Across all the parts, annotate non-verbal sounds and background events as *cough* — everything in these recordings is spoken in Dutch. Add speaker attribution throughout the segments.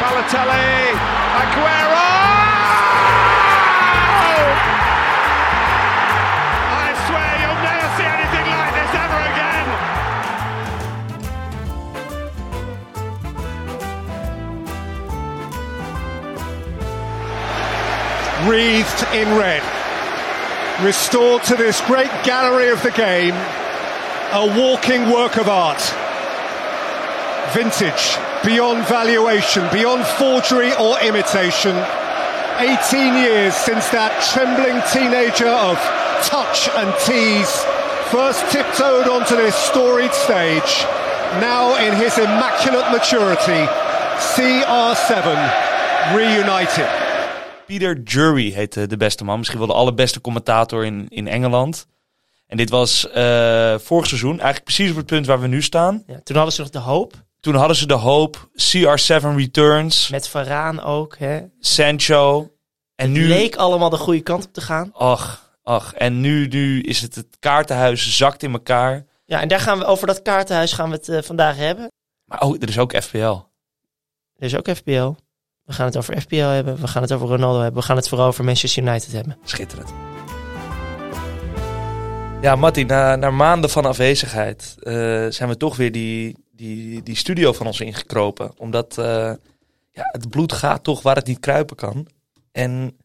Speaker 1: Balotelli, Aguero! I swear you'll never see anything like this ever again.
Speaker 2: wreathed in red. Restored to this great gallery of the game, a walking work of art. Vintage, beyond valuation, beyond forgery or imitation. 18 years since that trembling teenager of touch and tease first tiptoed onto this storied stage. Now, in his immaculate maturity, CR7 reunited.
Speaker 3: Peter Jury heette de beste man. Misschien wel de allerbeste commentator in, in Engeland. En dit was eh, vorig seizoen, eigenlijk precies op het punt waar we nu staan.
Speaker 4: Ja, toen hadden ze nog de hoop.
Speaker 3: Toen hadden ze de hoop, CR7 Returns,
Speaker 4: Met Varaan ook. Hè.
Speaker 3: Sancho. En nu...
Speaker 4: Leek allemaal de goede kant op te gaan.
Speaker 3: Ach, ach. En nu, nu is het het kaartenhuis zakt in elkaar.
Speaker 4: Ja, en daar gaan we, over dat kaartenhuis gaan we het eh, vandaag hebben.
Speaker 3: Maar oh, er is ook FPL.
Speaker 4: Er is ook FPL. We gaan het over FPL hebben. We gaan het over Ronaldo hebben. We gaan het vooral over Manchester United hebben.
Speaker 3: Schitterend. Ja, Matti, na, na maanden van afwezigheid eh, zijn we toch weer die, die, die studio van ons ingekropen. Omdat eh, ja, het bloed gaat toch waar het niet kruipen kan. En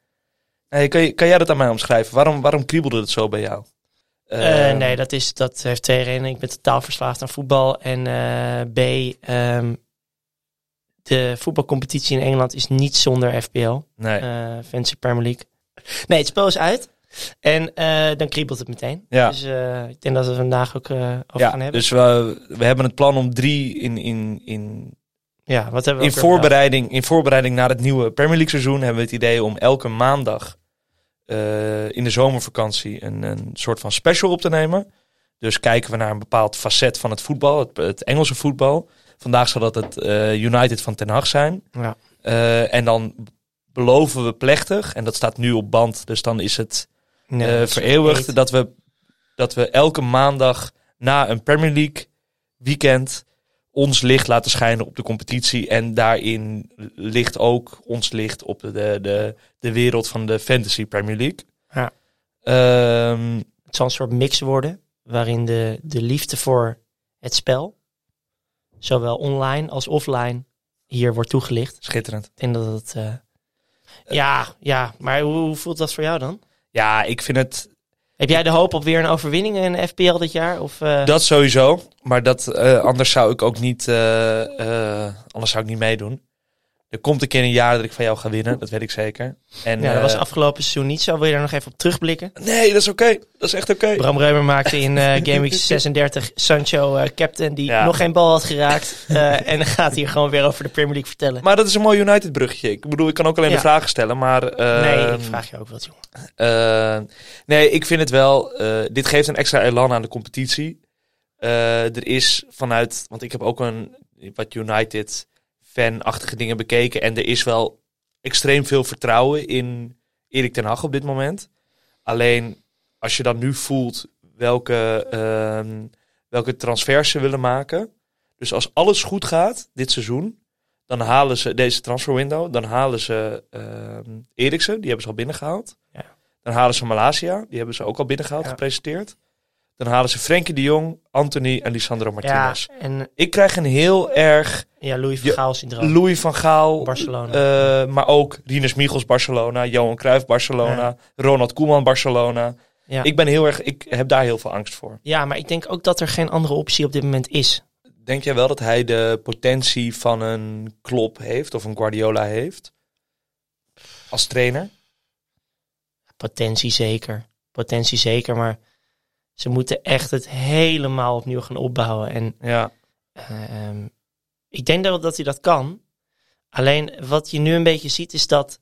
Speaker 3: eh, kan, je- kan jij dat aan mij omschrijven? Waarom, waarom kriebelde het zo bij jou?
Speaker 4: Eh,
Speaker 3: Ehm,
Speaker 4: nee, dat, is, dat heeft twee redenen. Ik ben totaal verslaafd aan voetbal. En eh, B, ehm, de voetbalcompetitie in Engeland is niet zonder FPL.
Speaker 3: nee.
Speaker 4: eh Fancy Premier League. Nee, het spel is uit. En eh, dan kriebelt het meteen.
Speaker 3: Ja.
Speaker 4: Dus eh, ik denk dat we het vandaag ook eh, over gaan
Speaker 3: ja,
Speaker 4: hebben.
Speaker 3: dus we, we hebben het plan om drie in, in, in,
Speaker 4: ja, wat hebben we
Speaker 3: in,
Speaker 4: ook weer bedacht?
Speaker 3: voorbereiding, in voorbereiding naar het nieuwe Premier League seizoen hebben we het idee om elke maandag eh, in de zomervakantie een, een soort van special op te nemen. Dus kijken we naar een bepaald facet van het voetbal, het, het Engelse voetbal. Vandaag zal dat het eh, United van Ten Hag zijn.
Speaker 4: Ja.
Speaker 3: Eh, en dan beloven we plechtig, en dat staat nu op band, dus dan is het
Speaker 4: Nee,
Speaker 3: eh,
Speaker 4: dat is
Speaker 3: vereeuwigd
Speaker 4: niet.
Speaker 3: dat we, dat we elke maandag na een Premier League weekend ons licht laten schijnen op de competitie. En daarin ligt ook ons licht op de, de, de, de wereld van de Fantasy Premier League.
Speaker 4: Ja.
Speaker 3: Ehm,
Speaker 4: Het zal een soort mix worden. Waarin de, de liefde voor het spel, zowel online als offline, hier wordt toegelicht.
Speaker 3: schitterend.
Speaker 4: Ik denk dat het. eh, ja, ja, maar hoe, hoe voelt dat voor jou dan?
Speaker 3: Ja, ik vind het
Speaker 4: Heb jij de hoop op weer een overwinning in FPL dit jaar? Of, eh,
Speaker 3: dat sowieso. Maar dat, eh, anders zou ik ook niet, eh, eh, anders zou ik niet meedoen. Er komt een keer een jaar dat ik van jou ga winnen, dat weet ik zeker. En,
Speaker 4: ja, dat was
Speaker 3: eh,
Speaker 4: afgelopen seizoen niet zo. Wil je daar nog even op terugblikken?
Speaker 3: Nee, dat is oké. Dat is echt oké.
Speaker 4: Bram Reumer maakte in eh Game Week 36 Sancho eh, captain die
Speaker 3: Ja.
Speaker 4: nog geen bal had geraakt. eh, en gaat hier gewoon weer over de Premier League vertellen.
Speaker 3: Maar dat is een mooi United-bruggetje. Ik bedoel, ik kan ook alleen
Speaker 4: Ja.
Speaker 3: de vragen stellen, maar... eh,
Speaker 4: nee, ik vraag je ook wat, jongen.
Speaker 3: eh, nee, ik vind het wel... eh, dit geeft een extra elan aan de competitie. Eh, er is vanuit... Want ik heb ook een wat United-fan-achtige dingen bekeken. En er is wel extreem veel vertrouwen in Erik ten Hag op dit moment. Alleen, als je dan nu voelt welke, ehm, welke transfers ze willen maken... Dus als alles goed gaat dit seizoen, dan halen ze deze transferwindow, dan halen ze ehm Eriksen, die hebben ze al binnengehaald.
Speaker 4: Ja.
Speaker 3: Dan halen ze Malasia, die hebben ze ook al binnengehaald,
Speaker 4: Ja.
Speaker 3: gepresenteerd. Dan halen ze Frenkie de Jong, Anthony en Lisandro
Speaker 4: Ja,
Speaker 3: Martinez.
Speaker 4: en
Speaker 3: Ik krijg een heel erg
Speaker 4: ja, Louis van
Speaker 3: Je-
Speaker 4: Gaal syndroom.
Speaker 3: Louis van Gaal,
Speaker 4: Barcelona.
Speaker 3: eh, maar ook Rinus Michels Barcelona, Johan Cruijff Barcelona,
Speaker 4: Ja.
Speaker 3: Ronald Koeman Barcelona.
Speaker 4: Ja.
Speaker 3: Ik ben heel erg, ik heb daar heel veel angst voor.
Speaker 4: ja, maar ik denk ook dat er geen andere optie op dit moment is.
Speaker 3: Denk jij wel dat hij de potentie van een Klopp heeft of een Guardiola heeft? Als trainer?
Speaker 4: Potentie zeker. Potentie zeker, maar ze moeten echt het helemaal opnieuw gaan opbouwen. En
Speaker 3: Ja.
Speaker 4: Ehm, ik denk dat, dat hij dat kan. Alleen wat je nu een beetje ziet is dat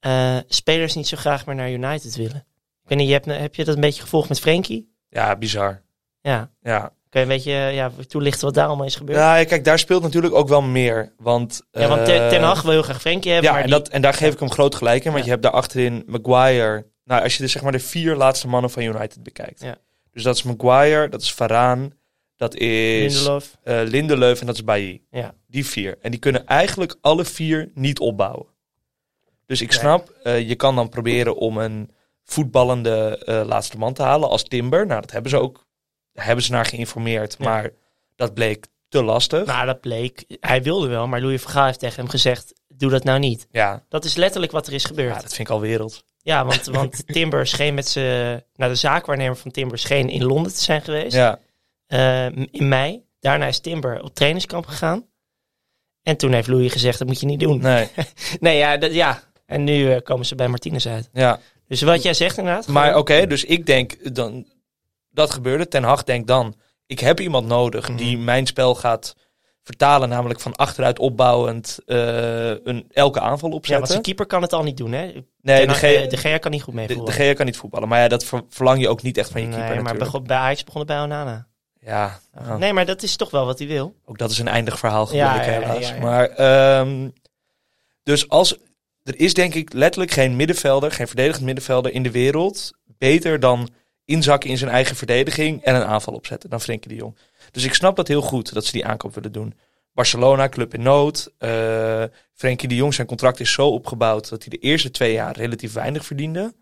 Speaker 4: eh, spelers niet zo graag meer naar United willen. Ik weet niet, je hebt, heb je dat een beetje gevolgd met Frenkie?
Speaker 3: Ja, bizar.
Speaker 4: Ja.
Speaker 3: Ja.
Speaker 4: Kun je een beetje eh, ja, toelichten wat daar allemaal is gebeurd? Ja,
Speaker 3: ja, kijk, daar speelt natuurlijk ook wel meer. Want,
Speaker 4: want
Speaker 3: eh,
Speaker 4: Ten, Ten Hag wil heel graag Frenkie hebben.
Speaker 3: Ja,
Speaker 4: maar
Speaker 3: en,
Speaker 4: die-
Speaker 3: dat, en daar geef ik hem groot gelijk in. Want
Speaker 4: Ja.
Speaker 3: je hebt daar achterin Maguire. Nou, als je dus zeg maar de vier laatste mannen van United bekijkt.
Speaker 4: Ja.
Speaker 3: Dus dat is Maguire, dat is Varaan, dat is Lindelof,
Speaker 4: Lindelof.
Speaker 3: Lindelöf en dat is Bailly.
Speaker 4: Ja.
Speaker 3: Die vier. En die kunnen eigenlijk alle vier niet opbouwen. Dus ik
Speaker 4: Nee.
Speaker 3: snap, eh, je kan dan proberen om een voetballende eh, laatste man te halen als Timber. Nou, dat hebben ze ook. Daar hebben ze naar geïnformeerd,
Speaker 4: Ja.
Speaker 3: maar dat bleek te lastig.
Speaker 4: Nou, dat bleek. Hij wilde wel, maar Louis Vergaal heeft tegen hem gezegd: doe dat nou niet.
Speaker 3: ja.
Speaker 4: Dat is letterlijk wat er is
Speaker 3: ja,
Speaker 4: gebeurd.
Speaker 3: dat vind ik al wereld.
Speaker 4: Ja, want, want Timber scheen met zijn. Nou, de zaakwaarnemer van Timber scheen in Londen te zijn geweest.
Speaker 3: Ja.
Speaker 4: eh, in mei. Daarna is Timber op trainingskamp gegaan. En toen heeft Louis gezegd: dat moet je niet doen. *laughs* Nee,
Speaker 3: Nee,
Speaker 4: ja, dat, ja. En nu eh, komen ze bij Martinez uit.
Speaker 3: ja.
Speaker 4: Dus wat jij zegt inderdaad.
Speaker 3: Maar oké,
Speaker 4: gewoon-
Speaker 3: dus ik denk dan dat gebeurde. Ten Hag denkt dan: ik heb iemand nodig die
Speaker 4: Mhm.
Speaker 3: mijn spel gaat vertalen, namelijk van achteruit opbouwend eh, een, elke aanval
Speaker 4: Ja, want
Speaker 3: opzetten.
Speaker 4: zijn keeper kan het al niet doen, hè?
Speaker 3: nee, de,
Speaker 4: Ten-
Speaker 3: G,
Speaker 4: eh, de
Speaker 3: de,
Speaker 4: Gea kan niet goed meevoeren.
Speaker 3: de Gea kan niet voetballen, maar ja, dat ver- verlang je ook niet echt van je
Speaker 4: nee,
Speaker 3: keeper.
Speaker 4: maar
Speaker 3: natuurlijk.
Speaker 4: begon- bij Ajax begon het bij Onana.
Speaker 3: ja, nou,
Speaker 4: Nee, maar dat is toch wel wat hij wil.
Speaker 3: ook dat is een eindig verhaal
Speaker 4: Ja,
Speaker 3: gebleken
Speaker 4: ja, ja,
Speaker 3: helaas.
Speaker 4: ja, ja.
Speaker 3: Maar ehm, dus als er is denk ik letterlijk geen middenvelder, geen verdedigend middenvelder in de wereld beter dan inzakken in zijn eigen verdediging en een aanval opzetten dan Frenkie de Jong. Dus ik snap dat heel goed dat ze die aankoop willen doen. Barcelona, club in nood. eh Frenkie de Jong, zijn contract is zo opgebouwd dat hij de eerste twee jaar relatief weinig verdiende.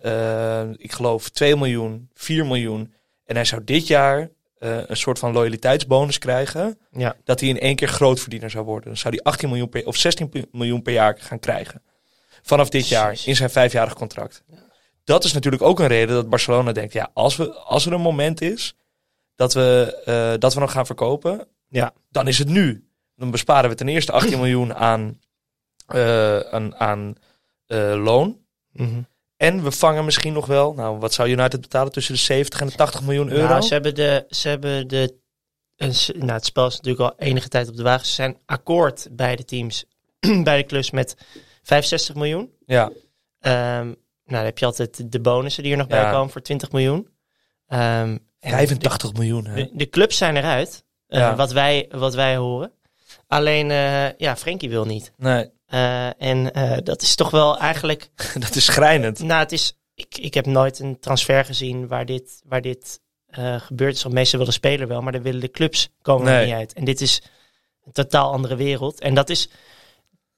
Speaker 3: Eh, ik geloof 2 miljoen, 4 miljoen. En hij zou dit jaar eh, een soort van loyaliteitsbonus krijgen.
Speaker 4: Ja.
Speaker 3: Dat hij in één keer grootverdiener zou worden. Dan zou hij 18 miljoen per, of 16 pi- miljoen per jaar gaan krijgen. Vanaf dit jaar,
Speaker 4: Jezus.
Speaker 3: in zijn vijfjarig contract. Dat is natuurlijk ook een reden dat Barcelona denkt... Ja, als, we, als er een moment is dat we, eh, dat we nog gaan verkopen...
Speaker 4: Ja.
Speaker 3: dan is het nu. Dan besparen we ten eerste *clears throat* 18 miljoen aan, eh, aan, aan eh, loon. Mhm. En we vangen misschien nog wel, nou wat zou United betalen tussen de 70 en de 80 miljoen euro?
Speaker 4: Nou, ze hebben de. Ze hebben de een s- nou, het spel is natuurlijk al enige tijd op de wagen. Ze zijn akkoord bij de teams, *clears throat* bij de klus met 65 miljoen.
Speaker 3: Ja,
Speaker 4: Ehm, nou, dan heb je altijd de bonussen die er nog bij
Speaker 3: Ja.
Speaker 4: komen voor 20 miljoen. Ehm, en
Speaker 3: 85 miljoen.
Speaker 4: de-
Speaker 3: Hè?
Speaker 4: De, de clubs zijn eruit, eh,
Speaker 3: Ja.
Speaker 4: wat, wij, wat wij horen. Alleen, eh, ja, Frenkie wil niet.
Speaker 3: Nee, *laughs*
Speaker 4: Eh, en eh, dat is toch wel eigenlijk
Speaker 3: dat is schrijnend.
Speaker 4: Nou, het is, ik, ik heb nooit een transfer gezien waar dit, waar dit eh, gebeurd is. Want meestal willen speler wel, maar dan willen de clubs komen er
Speaker 3: Nee.
Speaker 4: niet uit. En dit is een totaal andere wereld. En dat is,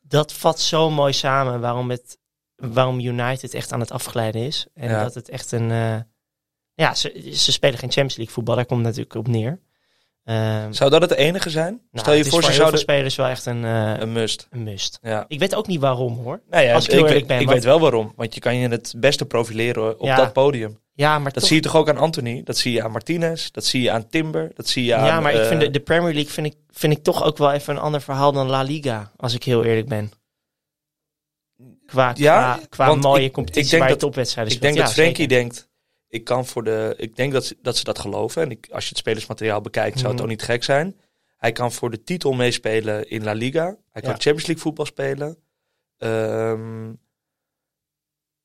Speaker 4: dat vat zo mooi samen waarom, het, waarom United echt aan het afglijden is. En
Speaker 3: Ja.
Speaker 4: dat het echt een, eh, ja, ze, ze spelen geen Champions League voetbal, daar komt het natuurlijk op neer. Ehm,
Speaker 3: Zou dat het enige zijn?
Speaker 4: nou,
Speaker 3: Stel je
Speaker 4: het is
Speaker 3: voor, ze
Speaker 4: heel veel
Speaker 3: zouden...
Speaker 4: spelers wel echt een, eh,
Speaker 3: Een must.
Speaker 4: een must.
Speaker 3: Ja.
Speaker 4: Ik weet ook niet waarom hoor.
Speaker 3: Nou ja,
Speaker 4: Als ik
Speaker 3: ik,
Speaker 4: heel
Speaker 3: weet-
Speaker 4: eerlijk ben,
Speaker 3: ik
Speaker 4: want-
Speaker 3: weet wel waarom. Want je kan je het beste profileren op
Speaker 4: Ja.
Speaker 3: dat podium.
Speaker 4: Ja, maar
Speaker 3: Dat
Speaker 4: toch-
Speaker 3: zie je toch ook aan Anthony? Dat zie je aan Martinez? Dat zie je aan Timber? Dat zie je aan...
Speaker 4: Ja, maar ik
Speaker 3: eh,
Speaker 4: vind de, de Premier League vind ik, vind ik toch ook wel even een ander verhaal dan La Liga, als ik heel eerlijk ben. Qua,
Speaker 3: Ja,
Speaker 4: qua, qua
Speaker 3: want
Speaker 4: mooie
Speaker 3: ik-
Speaker 4: competitie
Speaker 3: ik denk
Speaker 4: waar je
Speaker 3: dat-
Speaker 4: topwedstrijden
Speaker 3: Ik denk
Speaker 4: speelt.
Speaker 3: dat
Speaker 4: Ja,
Speaker 3: Frenkie
Speaker 4: zeker.
Speaker 3: denkt... Ik kan voor de... Ik denk dat ze dat, ze dat geloven. En ik, als je het spelersmateriaal bekijkt, zou het
Speaker 4: Mhm.
Speaker 3: ook niet gek zijn. Hij kan voor de titel meespelen in La Liga. Hij kan
Speaker 4: Ja.
Speaker 3: Champions League voetbal spelen. Ehm,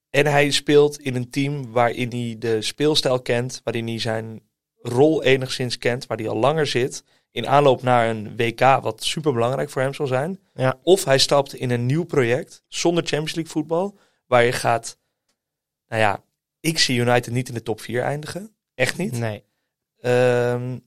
Speaker 3: en hij speelt in een team waarin hij de speelstijl kent. Waarin hij zijn rol enigszins kent. Waar hij al langer zit. In aanloop naar een WK, wat super belangrijk voor hem zal zijn.
Speaker 4: Ja.
Speaker 3: Of hij stapt in een nieuw project zonder Champions League voetbal. Waar je gaat. Nou ja, ik zie United niet in de top 4 eindigen. Echt niet.
Speaker 4: Nee,
Speaker 3: Ehm,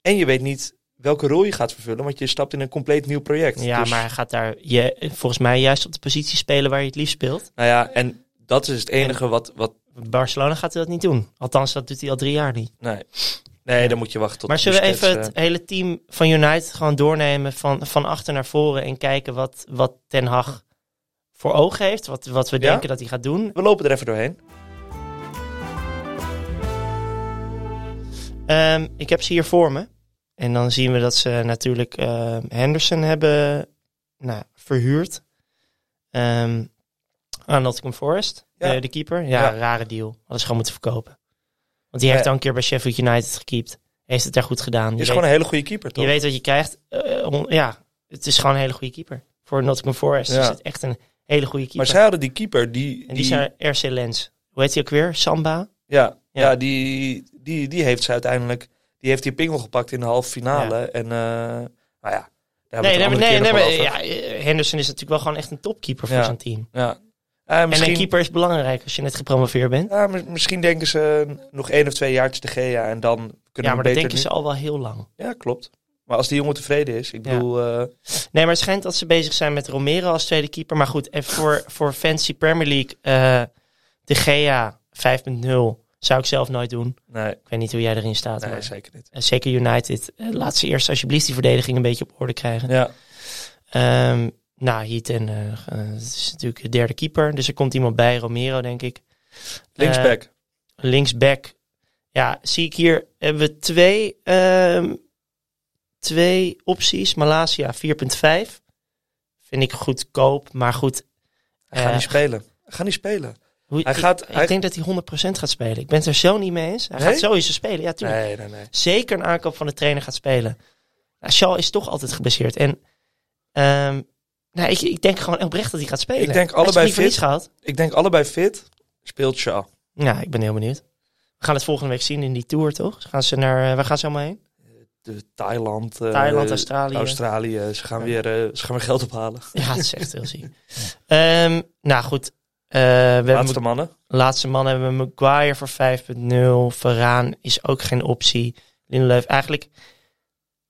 Speaker 3: en je weet niet welke rol je gaat vervullen, want je stapt in een compleet nieuw project.
Speaker 4: ja,
Speaker 3: Dus,
Speaker 4: maar hij gaat daar je, volgens mij juist op de positie spelen waar je het liefst speelt.
Speaker 3: Nou ja, en dat is het enige wat. wat
Speaker 4: Barcelona gaat hij dat niet doen. Althans, dat doet hij al drie jaar niet.
Speaker 3: nee. nee, dan moet je wachten tot.
Speaker 4: maar zullen we
Speaker 3: Busquets,
Speaker 4: even het
Speaker 3: eh,
Speaker 4: hele team van United gewoon doornemen van, van achter naar voren en kijken wat, wat Ten Hag voor ogen heeft, wat, wat we
Speaker 3: Ja?
Speaker 4: denken dat hij gaat doen.
Speaker 3: we lopen er even doorheen.
Speaker 4: Ehm, ik heb ze hier voor me. En dan zien we dat ze natuurlijk ehm, Henderson hebben nou, verhuurd. Ehm, aan Nottingham Forest,
Speaker 3: Ja.
Speaker 4: de, de keeper. Ja,
Speaker 3: Ja.
Speaker 4: rare deal. Hadden ze gewoon moeten verkopen. Want die
Speaker 3: Ja.
Speaker 4: heeft al een keer bij Sheffield United gekiept. Heeft het daar goed gedaan. Je,
Speaker 3: Is
Speaker 4: weet,
Speaker 3: gewoon een hele goede keeper, toch?
Speaker 4: je weet wat je krijgt. Eh, on- ja, het is gewoon een hele goede keeper. Voor Nottingham Forest
Speaker 3: Ja.
Speaker 4: is het echt een hele goede keeper.
Speaker 3: maar zij hadden die keeper die.
Speaker 4: en die zijn RC Lens. Hoe heet hij ook weer? Samba?
Speaker 3: ja, ja.
Speaker 4: Ja.
Speaker 3: die, die, die heeft ze uiteindelijk. Die heeft die pingel gepakt in de halve finale. En, eh, nou ja. Daar hebben we het een
Speaker 4: nee,
Speaker 3: andere keer
Speaker 4: nee,
Speaker 3: nog
Speaker 4: nee, maar,
Speaker 3: wel over.
Speaker 4: ja, eh, Henderson is natuurlijk wel gewoon echt een topkeeper voor
Speaker 3: Ja.
Speaker 4: zijn team.
Speaker 3: Ja. Ja, misschien,
Speaker 4: En een keeper is belangrijk als je net gepromoveerd bent.
Speaker 3: ja, mi- misschien denken ze nog één of twee jaartjes de Gea en dan kunnen we
Speaker 4: ja, maar
Speaker 3: beter
Speaker 4: dat denken
Speaker 3: nu-
Speaker 4: ze al wel heel lang.
Speaker 3: Ja, klopt. Maar als die jongen tevreden is, ik
Speaker 4: Ja.
Speaker 3: bedoel... eh,
Speaker 4: Nee, maar het schijnt dat ze bezig zijn met Romero als tweede keeper. Maar goed, en
Speaker 3: *laughs*
Speaker 4: voor, voor Fancy Premier League, eh, de Gea 5.0 zou ik zelf nooit doen.
Speaker 3: nee,
Speaker 4: Ik weet niet hoe jij erin staat.
Speaker 3: nee,
Speaker 4: maar,
Speaker 3: zeker niet.
Speaker 4: eh, zeker United. eh, laat ze eerst alsjeblieft die verdediging een beetje op orde krijgen.
Speaker 3: Ja,
Speaker 4: Ehm, nou, Heat en eh, eh, het is natuurlijk de derde keeper. Dus er komt iemand bij, Romero denk ik.
Speaker 3: linksback.
Speaker 4: linksback. Ja, zie ik hier hebben we twee, ehm, twee opties. Malasia 4.5. Vind ik goedkoop, maar goed.
Speaker 3: hij gaat
Speaker 4: eh,
Speaker 3: niet spelen. Hij gaat niet spelen.
Speaker 4: Hoe,
Speaker 3: Hij
Speaker 4: ik,
Speaker 3: gaat-
Speaker 4: ik
Speaker 3: hij-
Speaker 4: denk dat hij 100% gaat spelen. Ik ben het er zo niet mee eens. Hij
Speaker 3: Nee?
Speaker 4: gaat sowieso spelen, ja, tuurlijk.
Speaker 3: Nee, nee, nee.
Speaker 4: Zeker een aankoop van de trainer gaat spelen. Nou, Shaw is toch altijd geblesseerd. En ehm, nou, ik, ik denk gewoon oprecht dat hij gaat spelen.
Speaker 3: Ik denk
Speaker 4: Hij is
Speaker 3: allebei
Speaker 4: niet voor
Speaker 3: fit.
Speaker 4: niets gehad.
Speaker 3: Ik denk allebei fit, speelt Shaw.
Speaker 4: Ja, ik ben heel benieuwd. We gaan het volgende week zien in die tour, toch? Gaan ze naar, eh, waar gaan ze allemaal heen?
Speaker 3: De Thailand, eh,
Speaker 4: Thailand, Australië.
Speaker 3: Australië. Ze gaan, weer, eh, ze gaan weer geld ophalen.
Speaker 4: Ja, het is echt heel ziek. Ehm, nou goed. Eh, we hebben
Speaker 3: Laatste mannen.
Speaker 4: laatste man hebben we Maguire voor 5.0. Varaan is ook geen optie. Lindelöf, eigenlijk,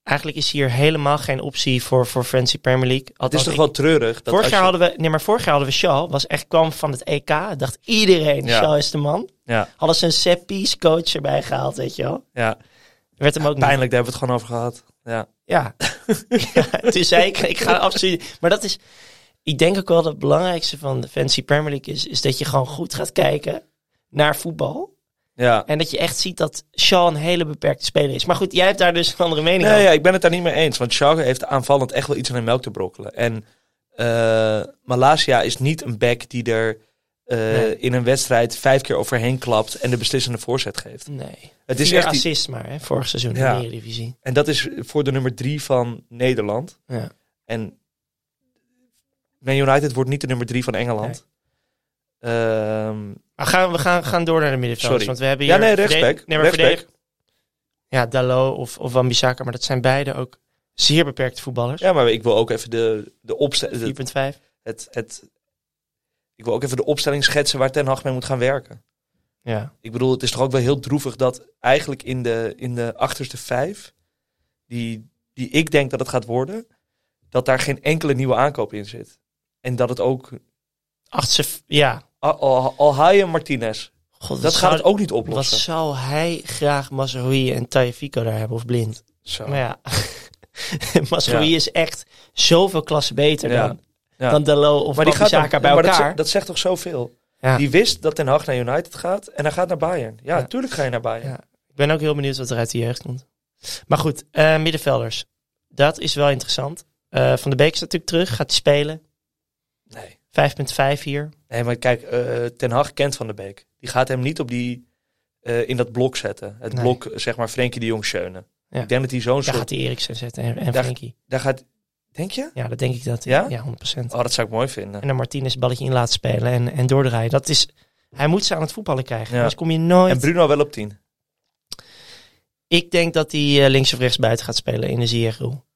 Speaker 4: eigenlijk is hier helemaal geen optie voor, voor Fancy Premier League.
Speaker 3: Het is
Speaker 4: Althans,
Speaker 3: toch
Speaker 4: ik-
Speaker 3: wel treurig. Dat
Speaker 4: vorig jaar
Speaker 3: als je-
Speaker 4: hadden we, nee, maar vorig jaar hadden we Shaw. Was echt kwam van het EK. Dacht iedereen,
Speaker 3: Ja.
Speaker 4: Shaw is de man.
Speaker 3: Ja,
Speaker 4: Hadden ze een Seppi's coach erbij gehaald, weet je wel.
Speaker 3: ja.
Speaker 4: Werd hem ook niet.
Speaker 3: Pijnlijk, daar hebben we het gewoon over gehad. Ja. *laughs*
Speaker 4: Ja. ja toen zei ik, ik ga afstuderen. Maar dat is, ik denk ook wel dat het belangrijkste van de Fancy Premier League is, is dat je gewoon goed gaat kijken naar voetbal.
Speaker 3: ja.
Speaker 4: En dat je echt ziet dat Shaw een hele beperkte speler is. Maar goed, jij hebt daar dus een andere mening
Speaker 3: Nee,
Speaker 4: over.
Speaker 3: ja, ik ben het daar niet mee eens. Want Schalke heeft aanvallend echt wel iets aan de melk te brokkelen. En eh Malasia is niet een back die er eh,
Speaker 4: Nee.
Speaker 3: in een wedstrijd vijf keer overheen klapt en de beslissende voorzet geeft.
Speaker 4: Nee.
Speaker 3: Het
Speaker 4: Het is
Speaker 3: is
Speaker 4: Vier
Speaker 3: echt die-
Speaker 4: assist maar, hè, vorig seizoen
Speaker 3: Ja.
Speaker 4: in de Eredivisie.
Speaker 3: en dat is voor de nummer drie van Nederland.
Speaker 4: Ja.
Speaker 3: En Man United wordt niet de nummer drie van Engeland. Ehm,
Speaker 4: Maar gaan, we gaan, gaan door naar de middenvelders.
Speaker 3: Sorry.
Speaker 4: Want we hebben
Speaker 3: ja,
Speaker 4: hier
Speaker 3: nee,
Speaker 4: verde-
Speaker 3: rechtsback.
Speaker 4: nee, maar
Speaker 3: rechtsback.
Speaker 4: verdedig- Ja, Dalo of, of Wan-Bissaka. Maar dat zijn beide ook zeer beperkte voetballers.
Speaker 3: Ja, maar ik wil ook even de, de opstelling...
Speaker 4: 4.5.
Speaker 3: Het, het, ik wil ook even de opstelling schetsen waar Ten Hag mee moet gaan werken.
Speaker 4: Ja.
Speaker 3: Ik bedoel, het is toch ook wel heel droevig dat eigenlijk in de, in de achterste vijf, die, die ik denk dat het gaat worden, dat daar geen enkele nieuwe aankoop in zit. En dat het ook.
Speaker 4: Achtste, ja.
Speaker 3: Al- Al- Alhaie en Martinez,
Speaker 4: God, wat
Speaker 3: dat gaat
Speaker 4: zou-
Speaker 3: het ook niet
Speaker 4: Wat
Speaker 3: oplossen.
Speaker 4: zou hij graag Mazraoui en Tajafico daar hebben, of blind?
Speaker 3: Zo.
Speaker 4: Maar *laughs* ja, Mazraoui
Speaker 3: Ja.
Speaker 4: is echt zoveel klassen beter
Speaker 3: Ja.
Speaker 4: dan,
Speaker 3: Ja.
Speaker 4: dan Delo of
Speaker 3: Maar die gaat
Speaker 4: Wan-Bissaka
Speaker 3: dan-
Speaker 4: bij
Speaker 3: maar dat,
Speaker 4: elkaar.
Speaker 3: zegt- dat zegt toch zoveel?
Speaker 4: Ja.
Speaker 3: Die wist dat Ten Hag naar United gaat en hij gaat naar Bayern. Ja,
Speaker 4: Ja.
Speaker 3: tuurlijk ga je naar Bayern.
Speaker 4: Ja. Ik ben ook heel benieuwd wat er uit de jeugd komt. Maar goed, eh, middenvelders. Dat is wel interessant. Eh, Van de Beek is natuurlijk terug, gaat hij spelen.
Speaker 3: Nee.
Speaker 4: 5.5 hier.
Speaker 3: nee, maar kijk, eh, Ten Hag kent Van de Beek. Die gaat hem niet op die, eh, in dat blok zetten. Het
Speaker 4: Nee.
Speaker 3: blok, eh, zeg maar, Frenkie de Jong scheunen.
Speaker 4: Ja.
Speaker 3: Ik denk dat hij zo'n
Speaker 4: Daar
Speaker 3: soort
Speaker 4: gaat hij Eriksen zetten en, en
Speaker 3: Daar-
Speaker 4: Frenkie.
Speaker 3: Daar gaat. Denk je?
Speaker 4: Ja, dat denk ik dat.
Speaker 3: Ja?
Speaker 4: ja 100%.
Speaker 3: Oh, dat zou ik mooi vinden.
Speaker 4: En dan Martinez balletje in laten spelen en, en doordraaien. Dat is, hij moet ze aan het voetballen krijgen.
Speaker 3: Ja.
Speaker 4: Anders kom je nooit...
Speaker 3: En Bruno wel op 10.
Speaker 4: Ik denk dat hij eh, links of rechts buiten gaat spelen in de Ziyech-rol.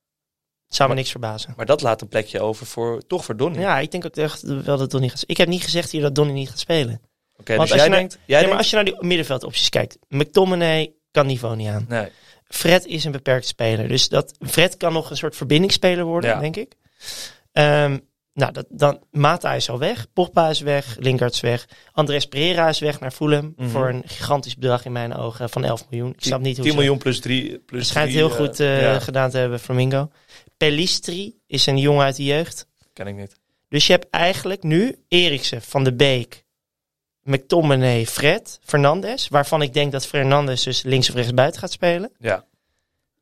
Speaker 4: Het zou me niks verbazen.
Speaker 3: Maar dat laat een plekje over voor. Toch voor Donny.
Speaker 4: Ja, ik denk ook echt wel dat Donny gaat spelen. Ik heb niet gezegd hier dat Donny niet gaat spelen.
Speaker 3: Oké,
Speaker 4: Want
Speaker 3: dus
Speaker 4: als
Speaker 3: jij
Speaker 4: je naar-
Speaker 3: denkt. Jij
Speaker 4: nee, maar
Speaker 3: denkt
Speaker 4: als je naar die middenveldopties kijkt. McTominay kan niveau niet aan.
Speaker 3: nee.
Speaker 4: Fred is een beperkt speler. Dus dat, Fred kan nog een soort verbindingsspeler worden,
Speaker 3: Ja.
Speaker 4: denk ik. Ehm, nou, dat, dan, Mata is al weg. Pogba is weg. Lingard is weg. Andres Pereira is weg naar Fulham.
Speaker 3: Mhm.
Speaker 4: Voor een gigantisch bedrag in mijn ogen van 11 miljoen. Ik snap niet hoe
Speaker 3: 10
Speaker 4: ze-
Speaker 3: miljoen plus 3. Plus
Speaker 4: Het schijnt
Speaker 3: drie,
Speaker 4: heel
Speaker 3: eh,
Speaker 4: goed eh,
Speaker 3: ja,
Speaker 4: gedaan te hebben, Flamingo. Pelistri is een jongen uit de jeugd.
Speaker 3: ken ik niet.
Speaker 4: Dus je hebt eigenlijk nu Eriksen, Van de Beek, McTominay, Fred, Fernandes. Waarvan ik denk dat Fernandes dus links of rechts buiten gaat spelen.
Speaker 3: Ja.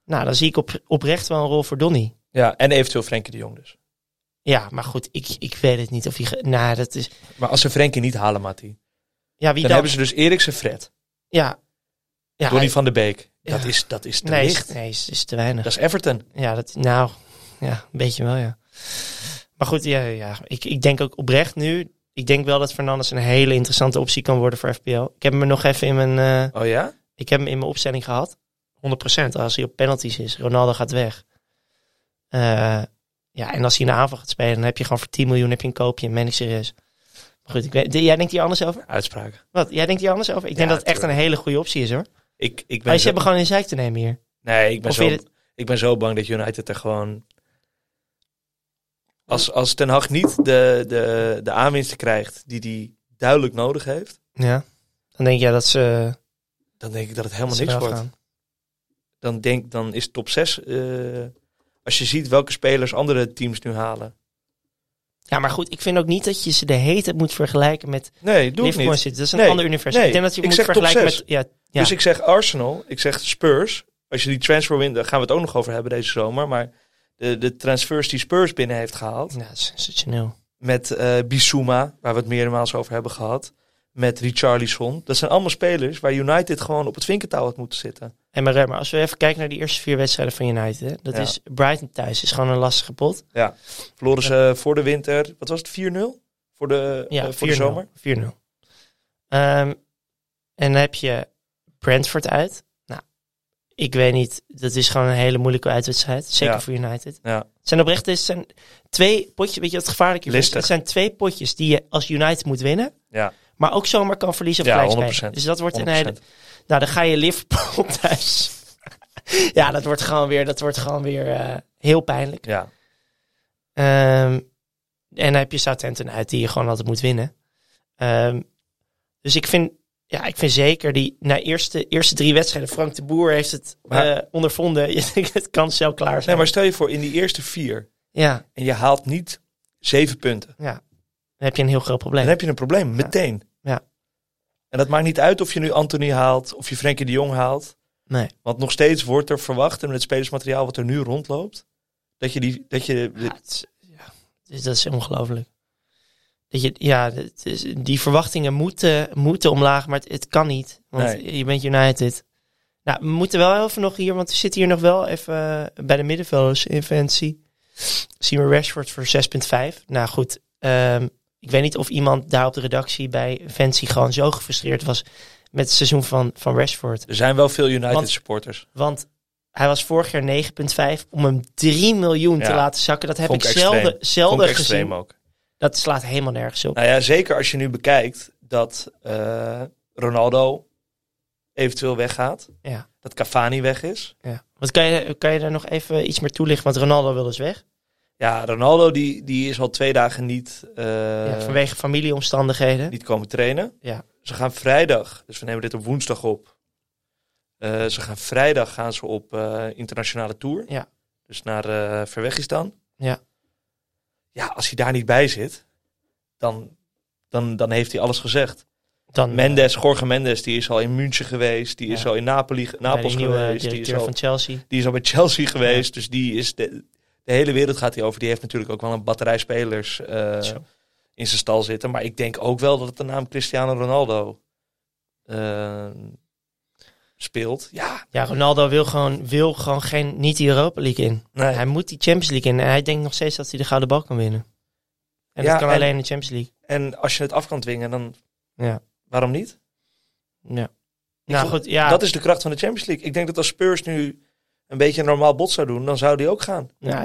Speaker 4: Nou, dan zie ik op, oprecht wel een rol voor Donny.
Speaker 3: ja, en eventueel Frenkie de Jong dus.
Speaker 4: Ja, maar goed, ik, ik weet het niet of hij... ge- Nou, dat is...
Speaker 3: Maar als ze Frenkie niet halen, Matti. Dan,
Speaker 4: Ja, wie dan?
Speaker 3: hebben ze dus Eriksen Fred.
Speaker 4: Ja. ja
Speaker 3: Donny
Speaker 4: hij-
Speaker 3: van de Beek.
Speaker 4: Ja.
Speaker 3: Dat, is, dat is te
Speaker 4: Nee, is,
Speaker 3: licht.
Speaker 4: nee is, is te weinig.
Speaker 3: Dat is Everton.
Speaker 4: Ja, dat, nou, ja, een beetje wel, ja. Maar goed, ja, ja ik, ik denk ook oprecht nu. Ik denk wel dat Fernandes een hele interessante optie kan worden voor FPL. Ik heb hem er nog even in mijn, eh,
Speaker 3: Oh ja?
Speaker 4: ik heb hem in mijn opstelling gehad. 100% als hij op penalties is. Ronaldo gaat weg. Eh, ja, en als hij in de aanval gaat spelen, dan heb je gewoon voor 10 miljoen heb je een koopje. Meen ik serieus. Maar goed, ik weet, jij denkt hier anders over?
Speaker 3: Uitspraken.
Speaker 4: Wat? Jij denkt hier anders over? Ik denk
Speaker 3: Ja,
Speaker 4: dat het echt een hele goede optie is hoor.
Speaker 3: Ik, ik ben
Speaker 4: Maar ze
Speaker 3: zo-
Speaker 4: hebben gewoon in zijk te nemen hier.
Speaker 3: Nee, ik ben,
Speaker 4: Of
Speaker 3: zo,
Speaker 4: vind je
Speaker 3: ik ben zo bang dat United er gewoon... Als, als Ten Hag niet de, de, de aanwinsten krijgt die hij duidelijk nodig heeft...
Speaker 4: Ja. Dan denk jij dat ze, eh,
Speaker 3: dan denk ik dat het
Speaker 4: dat
Speaker 3: helemaal
Speaker 4: ze
Speaker 3: niks
Speaker 4: eraf
Speaker 3: wordt.
Speaker 4: gaan.
Speaker 3: Dan, denk, dan is top 6... eh, als je ziet welke spelers andere teams nu halen.
Speaker 4: Ja, maar goed, ik vind ook niet dat je ze de hele tijd moet vergelijken met
Speaker 3: Nee, doe ik
Speaker 4: Liverpool en
Speaker 3: niet.
Speaker 4: City. Dat is een
Speaker 3: Nee,
Speaker 4: ander universum.
Speaker 3: nee,
Speaker 4: ik denk dat je
Speaker 3: ik
Speaker 4: moet
Speaker 3: zeg top
Speaker 4: vergelijken
Speaker 3: zes.
Speaker 4: met... Ja, ja.
Speaker 3: Dus ik zeg Arsenal, ik zeg Spurs. Als je die transfer wint, daar gaan we het ook nog over hebben deze zomer. Maar de, de transfers die Spurs binnen heeft gehaald.
Speaker 4: Nou, dat is sensationeel.
Speaker 3: Met eh Bissouma, waar we het meermaals over hebben gehad. Met Richarlison. Dat zijn allemaal spelers waar United gewoon op het vinkertouw had moeten zitten.
Speaker 4: En maar, maar als we even kijken naar die eerste vier wedstrijden van United. hè, dat
Speaker 3: Ja.
Speaker 4: is Brighton thuis. is gewoon een lastige pot.
Speaker 3: Ja. Verloren ze voor de winter, wat was het, 4-0? Voor de,
Speaker 4: Ja,
Speaker 3: eh, voor de zomer?
Speaker 4: 4-0. 4-0. Ehm, en dan heb je Brentford uit. Nou, ik weet niet. Dat is gewoon een hele moeilijke uitwedstrijd. Zeker
Speaker 3: Ja.
Speaker 4: voor United.
Speaker 3: Ja.
Speaker 4: Het zijn oprecht het zijn twee potjes. Weet je wat het gevaarlijk is?
Speaker 3: Listig.
Speaker 4: Het zijn twee potjes die je als United moet winnen.
Speaker 3: Ja,
Speaker 4: Maar ook zomaar kan verliezen of
Speaker 3: Ja,
Speaker 4: gelijk spelen.
Speaker 3: 100%.
Speaker 4: Dus dat wordt een hele...
Speaker 3: 100%.
Speaker 4: Nou, dan ga je Liverpool *laughs* thuis. ja, dat wordt gewoon weer, dat wordt gewoon weer eh, heel pijnlijk.
Speaker 3: Ja.
Speaker 4: Ehm, en dan heb je Southampton uit die je gewoon altijd moet winnen. Ehm, dus ik vind, ja, ik vind zeker die na eerste, eerste drie wedstrijden. Frank de Boer heeft het
Speaker 3: Maar-
Speaker 4: eh, ondervonden. *laughs* Je denkt, het kan snel klaar
Speaker 3: Nee,
Speaker 4: zijn.
Speaker 3: maar stel je voor, in die eerste vier.
Speaker 4: Ja,
Speaker 3: En je haalt niet zeven punten.
Speaker 4: ja, dan heb je een heel groot probleem.
Speaker 3: Dan heb je een probleem, meteen.
Speaker 4: Ja.
Speaker 3: En dat maakt niet uit of je nu Anthony haalt, of je Frenkie de Jong haalt.
Speaker 4: Nee.
Speaker 3: Want nog steeds wordt er verwacht, en met het spelersmateriaal wat er nu rondloopt, dat je die... Dat je,
Speaker 4: Ja, het is- ja, dus dat is ongelooflijk. Dat je, ja, het is- die verwachtingen moeten, moeten omlaag, maar het, het kan niet. Want
Speaker 3: Nee.
Speaker 4: je bent United. Nou, we moeten wel even nog hier, want we zitten hier nog wel even eh, bij de middenvelders inventie. Zien we Rashford voor 6,5. Nou goed, ehm, ik weet niet of iemand daar op de redactie bij Fancy gewoon zo gefrustreerd was met het seizoen van, van Rashford.
Speaker 3: er zijn wel veel United
Speaker 4: Want-
Speaker 3: supporters.
Speaker 4: Want hij was vorig jaar 9,5 om hem 3 miljoen te
Speaker 3: Ja.
Speaker 4: laten zakken. Dat heb
Speaker 3: Vond
Speaker 4: ik
Speaker 3: ik extreem.
Speaker 4: zelden,
Speaker 3: Vond ik
Speaker 4: zelden gezien.
Speaker 3: extreem ook.
Speaker 4: Dat slaat helemaal nergens op.
Speaker 3: Nou ja, zeker als je nu bekijkt dat eh, Ronaldo eventueel weggaat.
Speaker 4: Ja.
Speaker 3: Dat Cavani weg is.
Speaker 4: Ja. Wat kan je, kan je daar nog even iets meer toelichten? Want Ronaldo wil dus weg.
Speaker 3: Ja, Ronaldo die, die is al twee dagen niet, eh,
Speaker 4: ja, vanwege familieomstandigheden.
Speaker 3: niet komen trainen.
Speaker 4: Ja.
Speaker 3: Ze gaan vrijdag, dus we nemen dit op woensdag op. Eh, ze gaan vrijdag gaan ze op eh, internationale tour.
Speaker 4: Ja.
Speaker 3: Dus naar eh Verwegistan.
Speaker 4: Ja.
Speaker 3: Ja, als hij daar niet bij zit, dan, dan, dan heeft hij alles gezegd.
Speaker 4: Dan eh,
Speaker 3: Mm. Mendes, Jorge Mendes, die is al in München geweest. Die is
Speaker 4: Ja.
Speaker 3: al in Napoli, ge-
Speaker 4: bij
Speaker 3: Napels
Speaker 4: de nieuwe
Speaker 3: geweest. Die is,
Speaker 4: directeur
Speaker 3: al,
Speaker 4: van Chelsea.
Speaker 3: die is al bij Chelsea geweest. Dus die is de, de hele wereld gaat hij over. Die heeft natuurlijk ook wel een batterij spelers eh,
Speaker 4: Zo.
Speaker 3: in zijn stal zitten. Maar ik denk ook wel dat de naam Cristiano Ronaldo eh, speelt. Ja,
Speaker 4: Ja, Ronaldo wil gewoon, wil gewoon geen, niet die Europa League in.
Speaker 3: nee.
Speaker 4: Hij moet die Champions League in. En hij denkt nog steeds dat hij de gouden bal kan winnen. En
Speaker 3: Ja,
Speaker 4: dat kan
Speaker 3: en-
Speaker 4: alleen in de Champions League.
Speaker 3: En als je het af kan dwingen, dan
Speaker 4: Ja.
Speaker 3: waarom niet?
Speaker 4: Ja. Nou
Speaker 3: vond-
Speaker 4: goed, ja.
Speaker 3: Dat is de kracht van de Champions League. Ik denk dat als Spurs nu een beetje een normaal bot zou doen, dan zou die ook gaan.
Speaker 4: ja,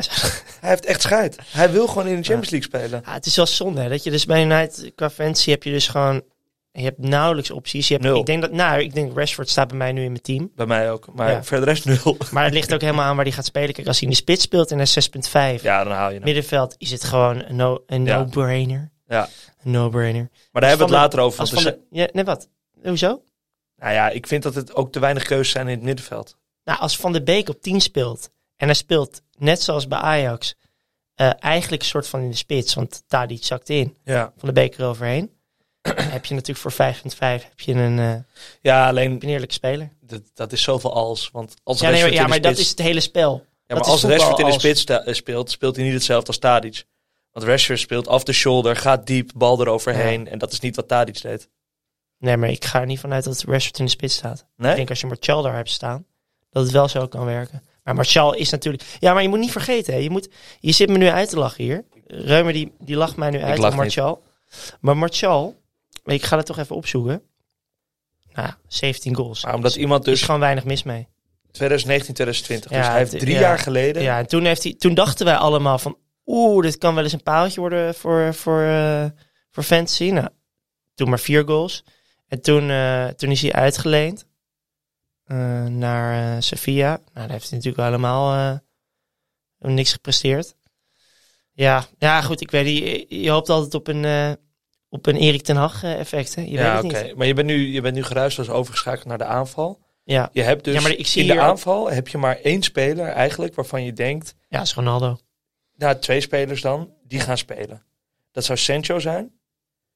Speaker 3: Hij heeft echt scheid. Hij wil gewoon in de Champions League spelen.
Speaker 4: Ja, het is wel zonde hè, dat je dus bij United qua fantasy heb je dus gewoon je hebt nauwelijks opties. Je hebt,
Speaker 3: Nul.
Speaker 4: ik denk dat nou, ik denk Rashford staat bij mij nu in mijn team,
Speaker 3: Bij mij ook. Maar
Speaker 4: Ja.
Speaker 3: verder is nul.
Speaker 4: maar het ligt ook helemaal aan waar hij gaat spelen. Kijk, als hij in de spits speelt en hij is 6.5
Speaker 3: *laughs* Ja, dan haal je hem.
Speaker 4: middenveld, is het gewoon een no, een
Speaker 3: Ja.
Speaker 4: no-brainer.
Speaker 3: Ja.
Speaker 4: Een no-brainer.
Speaker 3: Maar daar hebben we het
Speaker 4: Van de-
Speaker 3: later over.
Speaker 4: Als
Speaker 3: Want
Speaker 4: van
Speaker 3: er
Speaker 4: de, ja, nee, wat? Hoezo?
Speaker 3: zijn- Nou ja, ik vind dat het ook te weinig keuzes zijn in het middenveld.
Speaker 4: Nou, als Van der Beek op 10 speelt en hij speelt net zoals bij Ajax eh, eigenlijk een soort van in de spits, want Tadic zakt in.
Speaker 3: Ja,
Speaker 4: Van der Beek eroverheen. *clears throat* heb je natuurlijk voor 5.5 heb je een, eh, heb
Speaker 3: ja
Speaker 4: je
Speaker 3: alleen
Speaker 4: een eerlijke speler.
Speaker 3: dat, dat is zoveel als. Want als
Speaker 4: Ja, nee, maar-
Speaker 3: Rashford
Speaker 4: ja,
Speaker 3: in de
Speaker 4: maar dat
Speaker 3: spits-
Speaker 4: is het hele spel.
Speaker 3: Ja, maar
Speaker 4: dat is
Speaker 3: als
Speaker 4: voetbal
Speaker 3: Rashford in de
Speaker 4: als-
Speaker 3: spits sta- eh, speelt, speelt hij niet hetzelfde als Tadic. Want Rashford speelt off the shoulder, gaat diep, bal eroverheen. En dat is niet wat Tadic deed.
Speaker 4: Nee, maar ik ga er niet vanuit dat Rashford in de spits staat. Ik
Speaker 3: Nee?
Speaker 4: denk als je Martial daar hebt staan, dat het wel zo kan werken. Maar Martial is natuurlijk... Ja, maar je moet niet vergeten, hè. Je, moet... je zit me nu uit te lachen hier. Reumer die, die lacht mij nu uit
Speaker 3: lach
Speaker 4: om Martial. Maar Martial, ik ga dat toch even opzoeken. Nou, 17 goals.
Speaker 3: Maar omdat iemand
Speaker 4: Er is
Speaker 3: dus
Speaker 4: gewoon weinig mis mee.
Speaker 3: 2019, 2020. dus
Speaker 4: Ja,
Speaker 3: hij heeft
Speaker 4: het-
Speaker 3: drie
Speaker 4: ja.
Speaker 3: jaar geleden.
Speaker 4: Ja, en toen, heeft hij, toen dachten wij allemaal van... Oeh, dit kan wel eens een paaltje worden voor, voor, eh, voor fantasy. Nou, toen maar vier goals. En toen, eh, toen is hij uitgeleend eh, naar eh, Sevilla. Nou, daar heeft hij natuurlijk helemaal eh, niks gepresteerd. Ja, ja, goed, ik weet niet. Je, je hoopt altijd op een, eh, op een Erik ten Hag eh, effect, hè? Je weet
Speaker 3: ja,
Speaker 4: het
Speaker 3: oké.
Speaker 4: niet.
Speaker 3: Maar je bent nu, je bent nu geruisloos overgeschakeld naar de aanval.
Speaker 4: Ja.
Speaker 3: Je hebt dus
Speaker 4: Ja, maar ik zie
Speaker 3: in de
Speaker 4: hier-
Speaker 3: aanval heb je maar één speler eigenlijk waarvan je denkt,
Speaker 4: ja, is Ronaldo.
Speaker 3: nou twee spelers dan, die gaan spelen. Dat zou Sancho zijn.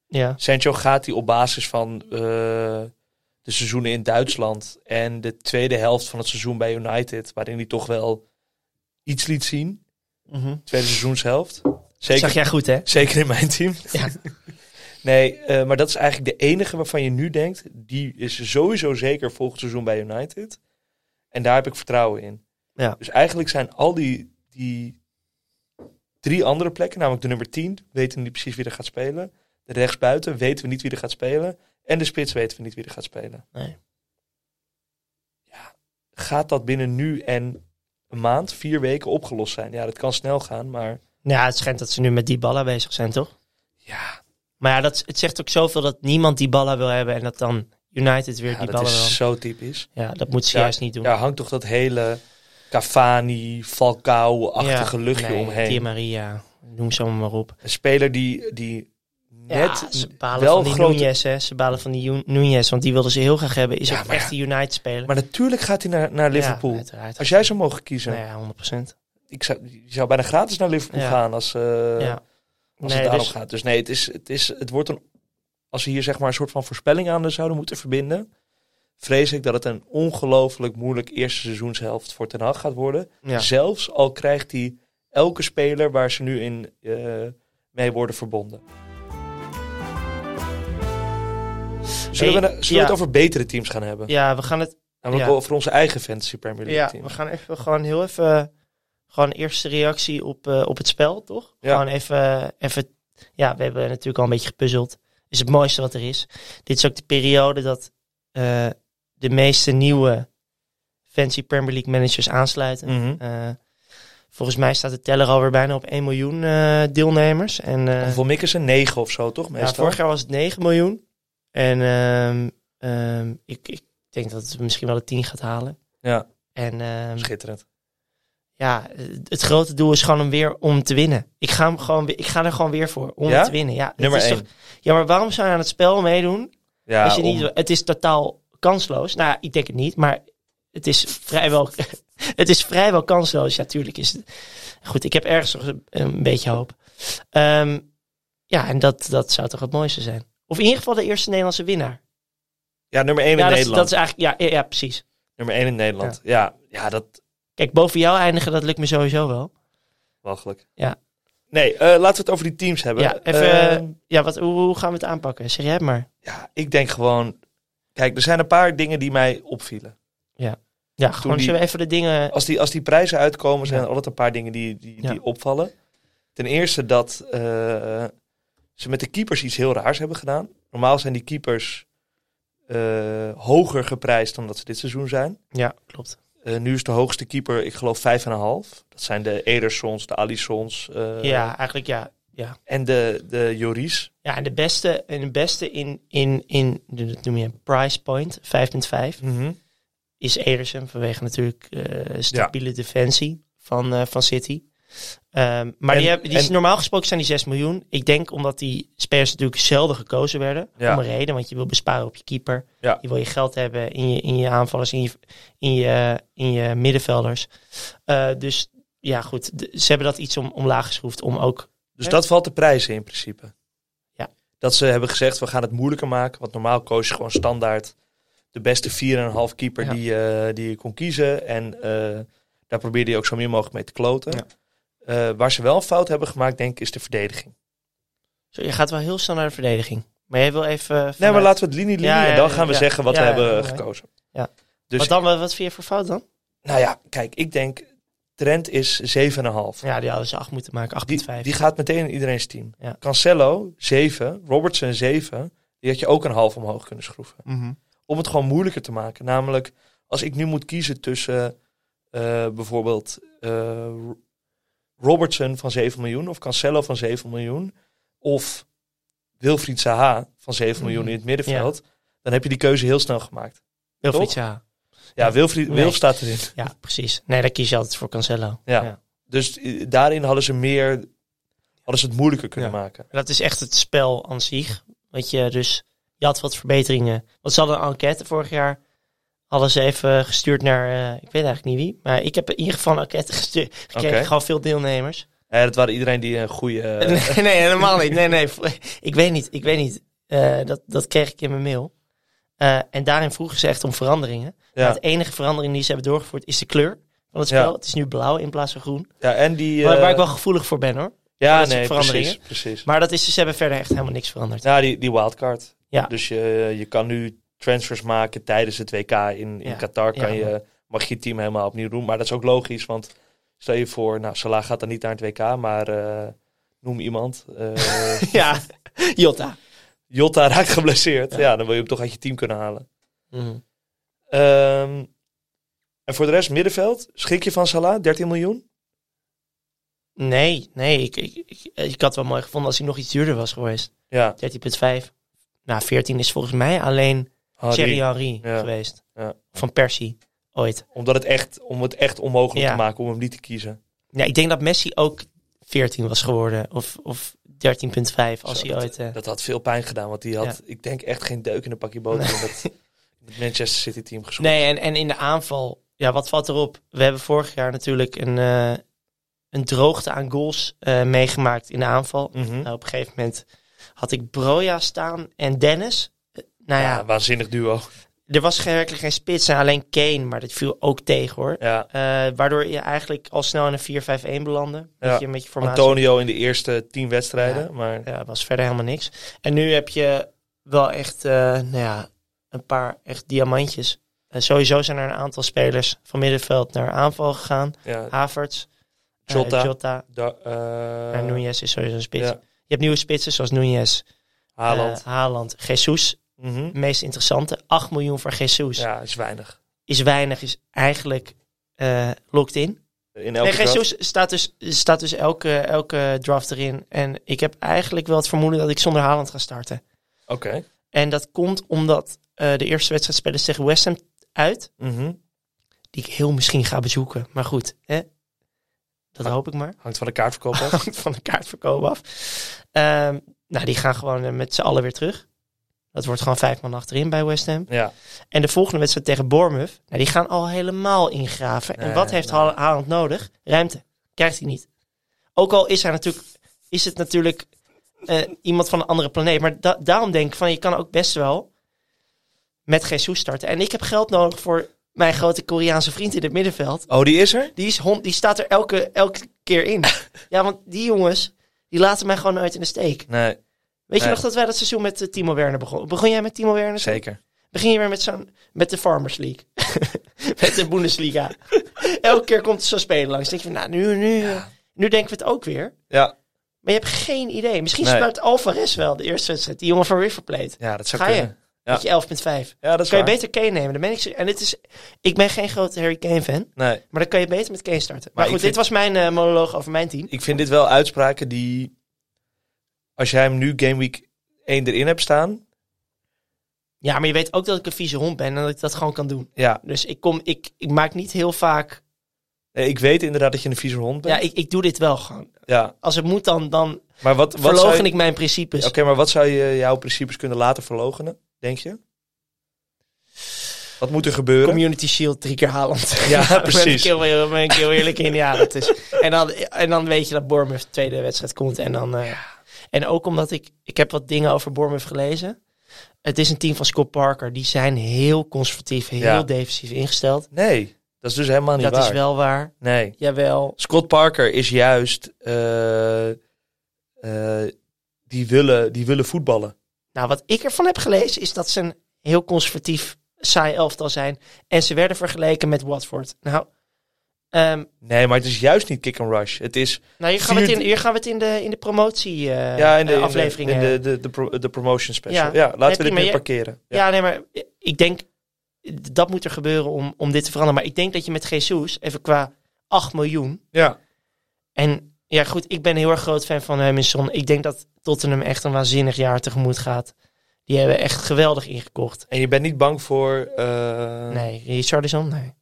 Speaker 4: Ja,
Speaker 3: Sancho gaat hij op basis van eh, de seizoenen in Duitsland en de tweede helft van het seizoen bij United, waarin hij toch wel iets liet zien. Tweede seizoenshelft. Zeker,
Speaker 4: Mhm. zag jij goed, hè?
Speaker 3: zeker in mijn team.
Speaker 4: Ja.
Speaker 3: *laughs* nee, eh, maar dat is eigenlijk de enige waarvan je nu denkt, die is sowieso zeker volgend seizoen bij United. En daar heb ik vertrouwen in.
Speaker 4: Ja.
Speaker 3: Dus eigenlijk zijn al die, die drie andere plekken, namelijk de nummer 10, weten we niet precies wie er gaat spelen. De rechtsbuiten weten we niet wie er gaat spelen. En de spits weten we niet wie er gaat spelen.
Speaker 4: Nee.
Speaker 3: Ja, gaat dat binnen nu en een maand, vier weken opgelost zijn? Ja, dat kan snel gaan, maar
Speaker 4: Nou, ja, het schijnt dat ze nu met die ballen bezig zijn, toch?
Speaker 3: ja,
Speaker 4: Maar ja, dat, het zegt ook zoveel dat niemand die ballen wil hebben en dat dan United weer
Speaker 3: ja
Speaker 4: die
Speaker 3: dat
Speaker 4: ballen
Speaker 3: is
Speaker 4: wil.
Speaker 3: zo typisch.
Speaker 4: Ja, dat moet ze juist niet doen.
Speaker 3: Daar hangt toch dat hele Cavani, Falcao-achtige
Speaker 4: Ja,
Speaker 3: luchtje
Speaker 4: nee,
Speaker 3: omheen.
Speaker 4: Di Maria, noem ze allemaal maar op.
Speaker 3: Een speler die, die net
Speaker 4: ja, ze balen
Speaker 3: wel
Speaker 4: van die
Speaker 3: grote...
Speaker 4: Nunez, hè. Ze balen van die Ju- Nunez, want die wilden ze heel graag hebben. Is
Speaker 3: Ja,
Speaker 4: ook
Speaker 3: maar
Speaker 4: echt die United speler.
Speaker 3: Maar natuurlijk gaat hij naar, naar Liverpool.
Speaker 4: Ja, uiteraard.
Speaker 3: Als jij zou mogen kiezen,
Speaker 4: Nou ja, 100 procent.
Speaker 3: ik zou, je zou bijna gratis naar Liverpool
Speaker 4: Ja.
Speaker 3: gaan als, eh,
Speaker 4: ja.
Speaker 3: als
Speaker 4: Nee,
Speaker 3: het daarop
Speaker 4: dus-
Speaker 3: gaat. Dus nee, het, is, het, is, het wordt een... Als we hier zeg maar een soort van voorspelling aan zouden moeten verbinden... vrees ik dat het een ongelooflijk moeilijk eerste seizoenshelft voor Ten Hag gaat worden.
Speaker 4: Ja.
Speaker 3: Zelfs al krijgt hij elke speler waar ze nu in eh, mee worden verbonden. Zullen,
Speaker 4: Hey,
Speaker 3: we, na- zullen we
Speaker 4: ja.
Speaker 3: het over betere teams gaan hebben?
Speaker 4: ja, we gaan het...
Speaker 3: Namelijk
Speaker 4: ja.
Speaker 3: over onze eigen Fantasy Premier League
Speaker 4: Ja,
Speaker 3: team.
Speaker 4: we gaan even gewoon heel even... eh, Gewoon eerste reactie op, eh, op het spel, toch?
Speaker 3: Ja.
Speaker 4: Gewoon even, even... Ja, we hebben natuurlijk al een beetje gepuzzeld. is het mooiste wat er is. Dit is ook de periode dat eh, de meeste nieuwe fancy Premier League managers aansluiten.
Speaker 3: Mhm.
Speaker 4: Eh, volgens mij staat de teller alweer bijna op 1 miljoen eh, deelnemers. En, eh,
Speaker 3: Hoeveel mikken ze? 9 of zo, toch?
Speaker 4: ja,
Speaker 3: Meestal.
Speaker 4: vorig jaar was het 9 miljoen. En ehm, ehm, ik, ik denk dat het misschien wel de 10 gaat halen.
Speaker 3: Ja.
Speaker 4: En ehm,
Speaker 3: Schitterend.
Speaker 4: ja, het grote doel is gewoon om weer om te winnen. Ik ga, hem gewoon, we- ik ga er gewoon weer voor om
Speaker 3: Ja?
Speaker 4: te winnen. Ja, het
Speaker 3: Nummer
Speaker 4: is
Speaker 3: 1.
Speaker 4: toch- ja, maar waarom zou je aan het spel meedoen?
Speaker 3: Ja,
Speaker 4: als je
Speaker 3: om-
Speaker 4: niet, Het is totaal kansloos. Nou, ik denk het niet, maar het is vrijwel, *laughs* het is vrijwel kansloos. Ja, tuurlijk is het. Goed, ik heb ergens nog een, een beetje hoop. Ehm, ja, en dat, dat zou toch het mooiste zijn. Of in ieder geval de eerste Nederlandse winnaar.
Speaker 3: ja nummer 1 in
Speaker 4: Ja, dat, is-
Speaker 3: Nederland.
Speaker 4: dat is eigenlijk, ja, ja, ja, precies.
Speaker 3: Nummer 1 in Nederland. Ja, ja, dat...
Speaker 4: Kijk, boven jou eindigen, dat lukt me sowieso wel.
Speaker 3: Walgelijk.
Speaker 4: Ja.
Speaker 3: Nee, eh, laten we het over die teams hebben.
Speaker 4: Ja, even,
Speaker 3: Ehm,
Speaker 4: ja wat, hoe, hoe gaan we het aanpakken? Zeg jij het maar.
Speaker 3: ja, ik denk gewoon... Kijk, er zijn een paar dingen die mij opvielen.
Speaker 4: Ja, gewoon
Speaker 3: die-
Speaker 4: zullen we even de dingen...
Speaker 3: Als die, als die prijzen uitkomen, zijn
Speaker 4: Ja.
Speaker 3: er altijd een paar dingen die, die, die
Speaker 4: Ja.
Speaker 3: opvallen. Ten eerste dat eh, ze met de keepers iets heel raars hebben gedaan. Normaal zijn die keepers eh, hoger geprijsd dan dat ze dit seizoen zijn.
Speaker 4: Ja, klopt.
Speaker 3: Eh, nu is de hoogste keeper, ik geloof, 5,5. Dat zijn de Edersons, de Alissons eh,
Speaker 4: ja, eigenlijk ja. Ja,
Speaker 3: en de, de Joris.
Speaker 4: ja en de beste, en de beste in, in, in, dat noem je price point, 5.5, is Ederson. Vanwege natuurlijk eh, stabiele defensie van, eh, van City. Ehm, maar
Speaker 3: En-
Speaker 4: die hebben, die is-
Speaker 3: en-
Speaker 4: normaal gesproken zijn die 6 miljoen. Ik denk omdat die spelers natuurlijk zelden gekozen werden.
Speaker 3: Ja.
Speaker 4: Om een reden, want je wil besparen op je keeper.
Speaker 3: Ja.
Speaker 4: Je wil je geld hebben in je, in je aanvallers, in je, in je, in je middenvelders. Eh, dus ja, goed. de- ze hebben dat iets om, omlaag geschroefd om ook
Speaker 3: Dus
Speaker 4: Ja.
Speaker 3: dat valt de prijzen in principe.
Speaker 4: Ja.
Speaker 3: Dat ze hebben gezegd, we gaan het moeilijker maken. Want normaal koos je gewoon standaard de beste 4,5 keeper
Speaker 4: Ja.
Speaker 3: die, je- die je kon kiezen. En eh, daar probeerde je ook zo min mogelijk mee te kloten.
Speaker 4: Ja.
Speaker 3: Eh, waar ze wel een fout hebben gemaakt, denk ik, is de verdediging.
Speaker 4: Zo, je gaat wel heel snel naar de verdediging. Maar jij wil even... eh,
Speaker 3: Nee, maar
Speaker 4: vanuit-
Speaker 3: laten we het linie-linie
Speaker 4: Ja, ja,
Speaker 3: en dan
Speaker 4: ja,
Speaker 3: gaan we
Speaker 4: ja.
Speaker 3: zeggen wat
Speaker 4: Ja,
Speaker 3: we
Speaker 4: ja,
Speaker 3: hebben
Speaker 4: ja, ja.
Speaker 3: gekozen.
Speaker 4: Ja.
Speaker 3: Dus,
Speaker 4: Wat, dan, wat, wat vind je voor fout dan?
Speaker 3: nou ja, kijk, ik denk, trend is 7,5.
Speaker 4: Ja, die hadden ze 8 moeten maken. 8,5.
Speaker 3: Die, die gaat meteen in iedereen's team.
Speaker 4: Ja.
Speaker 3: Cancelo, 7. Robertson, 7. Die had je ook een half omhoog kunnen schroeven. Om het gewoon moeilijker te maken. Namelijk, als ik nu moet kiezen tussen eh, bijvoorbeeld eh, Ro- Robertson van 7 miljoen of Cancelo van 7 miljoen. Of Wilfried Zaha van
Speaker 4: Mhm.
Speaker 3: 7 miljoen in het middenveld, dan heb je die keuze heel snel gemaakt.
Speaker 4: Wilfried
Speaker 3: Toch?
Speaker 4: Zaha.
Speaker 3: Ja, Wilfried,
Speaker 4: Nee.
Speaker 3: Wilf staat erin.
Speaker 4: Ja, precies. Nee, daar kies je altijd voor Cancelo.
Speaker 3: Ja. Dus eh, daarin hadden ze meer, hadden ze het moeilijker kunnen
Speaker 4: Ja.
Speaker 3: maken.
Speaker 4: Dat is echt het spel aan zich. Weet je, dus je had wat verbeteringen. Want ze hadden een enquête vorig jaar. Hadden ze even gestuurd naar, eh, ik weet eigenlijk niet wie. Maar ik heb in ieder geval een enquête gestuurd. Gekregen
Speaker 3: Oké.
Speaker 4: gewoon veel deelnemers.
Speaker 3: Eh, dat waren iedereen die een goede... eh,
Speaker 4: *laughs* Nee, nee, helemaal niet. Nee, nee. vo- *laughs* Ik weet niet. Ik weet niet. Eh, dat, dat kreeg ik in mijn mail. Eh, en daarin vroegen ze echt om veranderingen.
Speaker 3: ja.
Speaker 4: Maar het enige verandering die ze hebben doorgevoerd is de kleur van het
Speaker 3: Ja.
Speaker 4: spel. Het is nu blauw in plaats van groen.
Speaker 3: ja, en die...
Speaker 4: Waar,
Speaker 3: eh,
Speaker 4: waar ik wel gevoelig voor ben hoor.
Speaker 3: ja,
Speaker 4: dat soort
Speaker 3: nee,
Speaker 4: veranderingen.
Speaker 3: precies, precies.
Speaker 4: Maar dat is, ze hebben verder echt helemaal niks
Speaker 3: *laughs*
Speaker 4: veranderd.
Speaker 3: Ja, die, die wildcard.
Speaker 4: Ja.
Speaker 3: Dus je, je kan nu transfers maken tijdens het WK in, in
Speaker 4: Ja.
Speaker 3: Qatar. Kan
Speaker 4: Ja.
Speaker 3: je, mag je team helemaal opnieuw doen. Maar dat is ook logisch, want stel je voor, nou, Salah gaat dan niet naar het WK, maar eh, noem iemand.
Speaker 4: *laughs*
Speaker 3: Eh,
Speaker 4: Ja, Jota.
Speaker 3: Jota raakt geblesseerd.
Speaker 4: Ja. Mhm.
Speaker 3: Ja. dan wil je hem toch uit je team kunnen halen. Ehm, en voor de rest, middenveld, schrik je van Salah, 13 miljoen?
Speaker 4: Nee, nee. Ik, ik, ik, ik had het wel mooi gevonden als hij nog iets duurder was geweest.
Speaker 3: Ja.
Speaker 4: 13,5. Nou, 14 is volgens mij alleen
Speaker 3: Harry.
Speaker 4: Thierry Henry
Speaker 3: Ja.
Speaker 4: geweest.
Speaker 3: Ja.
Speaker 4: Van Persie, ooit.
Speaker 3: Omdat het echt, om het echt onmogelijk
Speaker 4: Ja.
Speaker 3: te maken om hem niet te kiezen.
Speaker 4: Ja, ik denk dat Messi ook 14 was geworden. Of, of 13,5 als
Speaker 3: Zo,
Speaker 4: hij ooit... eh,
Speaker 3: Dat had veel pijn gedaan, want die had, ik denk, echt geen deuk in een pakje boter. in
Speaker 4: *laughs*
Speaker 3: dat- Het Manchester City team gezocht.
Speaker 4: Nee, en, en in de aanval, ja, wat valt erop? We hebben vorig jaar natuurlijk een, eh, een droogte aan goals eh, meegemaakt in de aanval.
Speaker 3: Mhm.
Speaker 4: Nou, op een gegeven moment had ik Broja staan en Dennis. Eh, nou ja,
Speaker 3: Ja, waanzinnig duo.
Speaker 4: er was geen- werkelijk geen spits en alleen Kane, maar dat viel ook tegen hoor.
Speaker 3: Ja.
Speaker 4: Eh, waardoor je eigenlijk al snel in een 4-5-1 belandde.
Speaker 3: Ja.
Speaker 4: Beetje, een beetje formatie.
Speaker 3: Antonio in de eerste tien wedstrijden. Maar
Speaker 4: Ja, was verder helemaal niks. En nu heb je wel echt, eh, nou ja, een paar echt diamantjes. Eh, sowieso zijn er een aantal spelers van middenveld naar aanval gegaan.
Speaker 3: ja,
Speaker 4: Havertz, eh,
Speaker 3: Jota.
Speaker 4: Jota
Speaker 3: da- eh,
Speaker 4: en Nunez is sowieso een spits.
Speaker 3: ja,
Speaker 4: Je hebt nieuwe spitsen zoals Nunez,
Speaker 3: Haaland.
Speaker 4: eh, Haaland, Jesus.
Speaker 3: Mhm.
Speaker 4: Het meest interessante, 8 miljoen voor Jesus.
Speaker 3: Ja, is weinig.
Speaker 4: Is weinig, is eigenlijk eh locked in.
Speaker 3: In
Speaker 4: Nee,
Speaker 3: elke nee,
Speaker 4: Jesus staat dus, staat dus elke, elke draft erin. En ik heb eigenlijk wel het vermoeden dat ik zonder Haaland ga starten.
Speaker 3: Oké.
Speaker 4: En dat komt omdat eh, de eerste wedstrijd spelen ze tegen West Ham uit.
Speaker 3: Mhm.
Speaker 4: Die ik heel misschien ga bezoeken. Maar goed, hè? dat hoop ik maar. *laughs*
Speaker 3: Hangt van de kaartverkoop af.
Speaker 4: Hangt van de kaartverkoop af. Ehm, nou, die gaan gewoon eh, met z'n allen weer terug. Dat wordt gewoon vijf man achterin bij West Ham.
Speaker 3: ja.
Speaker 4: En de volgende wedstrijd tegen Bournemouth. Nou, die gaan al helemaal ingraven. en
Speaker 3: Nee,
Speaker 4: wat heeft
Speaker 3: nee.
Speaker 4: Haal- Haaland nodig? Ruimte. Krijgt hij niet. Ook al is, hij natuurlijk, is het natuurlijk eh, iemand van een andere planeet. Maar da- daarom denk ik van je kan ook best wel met Jesus starten. En ik heb geld nodig voor mijn grote Koreaanse vriend in het middenveld.
Speaker 3: Oh, die is er?
Speaker 4: Die, is hond, die staat er elke, elke keer
Speaker 3: *laughs*
Speaker 4: in. ja, want die jongens, die laten mij gewoon nooit in de steek.
Speaker 3: Nee,
Speaker 4: Weet je
Speaker 3: Nee.
Speaker 4: nog dat wij dat seizoen met eh, Timo Werner begonnen? Begon jij met Timo Werner?
Speaker 3: zeker.
Speaker 4: begin je weer met, zo'n, met de Farmers League. *laughs* met de Bundesliga. Elke keer komt er zo'n speler langs. Dan denk je van, nou, nu, nu, nu denken we het ook weer.
Speaker 3: Ja.
Speaker 4: Maar je hebt geen idee. Misschien
Speaker 3: Nee.
Speaker 4: sluit Alvarez wel de eerste wedstrijd. Die jongen van River Plate.
Speaker 3: ja, dat zou
Speaker 4: Ga je?
Speaker 3: kunnen. Ja.
Speaker 4: Met je 11.5.
Speaker 3: Ja, dat is
Speaker 4: Dan kan je
Speaker 3: waar.
Speaker 4: beter Kane nemen. Dan ben ik, zo- en het is, ik ben geen grote Harry Kane fan.
Speaker 3: Nee,
Speaker 4: Maar dan kan je beter met Kane starten. Maar,
Speaker 3: Maar
Speaker 4: goed,
Speaker 3: ik vind-
Speaker 4: dit was mijn eh, monoloog over mijn team.
Speaker 3: ik vind dit wel uitspraken die... Als jij hem nu Game Week 1 erin hebt staan...
Speaker 4: Ja, maar je weet ook dat ik een vieze hond ben. En dat ik dat gewoon kan doen.
Speaker 3: Ja,
Speaker 4: Dus ik, kom, ik, ik maak niet heel vaak...
Speaker 3: Eh, ik weet inderdaad dat je een vieze hond
Speaker 4: Ja,
Speaker 3: bent.
Speaker 4: ik, ik doe dit wel gewoon.
Speaker 3: Ja.
Speaker 4: Als het moet, dan, dan
Speaker 3: Maar wat, wat zou
Speaker 4: verlogen
Speaker 3: je-
Speaker 4: ik mijn principes.
Speaker 3: Oké, maar wat zou je jouw principes kunnen laten verlogenen, denk je? Wat moet er gebeuren?
Speaker 4: Community Shield drie keer Haaland. *laughs*
Speaker 3: Ja,
Speaker 4: Daar Ben ik,
Speaker 3: precies.
Speaker 4: heel, daar ben ik heel eerlijk in. Ja, dat is. En dan, en dan weet je dat Bournemouth de tweede wedstrijd komt. En, dan, eh, en ook omdat ik... Ik heb wat dingen over Bournemouth gelezen. Het is een team van Scott Parker. Die zijn heel conservatief, heel
Speaker 3: Ja.
Speaker 4: defensief ingesteld.
Speaker 3: Nee, dat is dus helemaal niet
Speaker 4: Dat
Speaker 3: waar.
Speaker 4: is wel waar.
Speaker 3: Nee.
Speaker 4: Jawel.
Speaker 3: Scott Parker is juist... eh, eh, die, willen, die willen voetballen.
Speaker 4: Nou, wat ik ervan heb gelezen is dat ze een heel conservatief saai elftal zijn. En ze werden vergeleken met Watford. Nou, ehm,
Speaker 3: Nee, maar het is juist niet kick and rush. Het is...
Speaker 4: nou hier, gaan we het
Speaker 3: Vier-
Speaker 4: in, hier gaan we het in de, in de promotie eh,
Speaker 3: ja, in de,
Speaker 4: eh,
Speaker 3: in de-
Speaker 4: afleveringen.
Speaker 3: in de, de, de, pro- de promotion special.
Speaker 4: Ja.
Speaker 3: Ja,
Speaker 4: Nee,
Speaker 3: laten we dit
Speaker 4: prima,
Speaker 3: nu
Speaker 4: je-
Speaker 3: parkeren. Ja.
Speaker 4: Ja. nee, maar ik denk dat moet er gebeuren om, om dit te veranderen. Maar ik denk dat je met Jesus, even qua 8 miljoen,
Speaker 3: Ja.
Speaker 4: en Ja, goed, ik ben heel erg groot fan van Hemingson. Ik denk dat Tottenham echt een waanzinnig jaar tegemoet gaat. Die hebben echt geweldig ingekocht.
Speaker 3: En je bent niet bang voor... eh, nee.
Speaker 4: Nee, Richardson?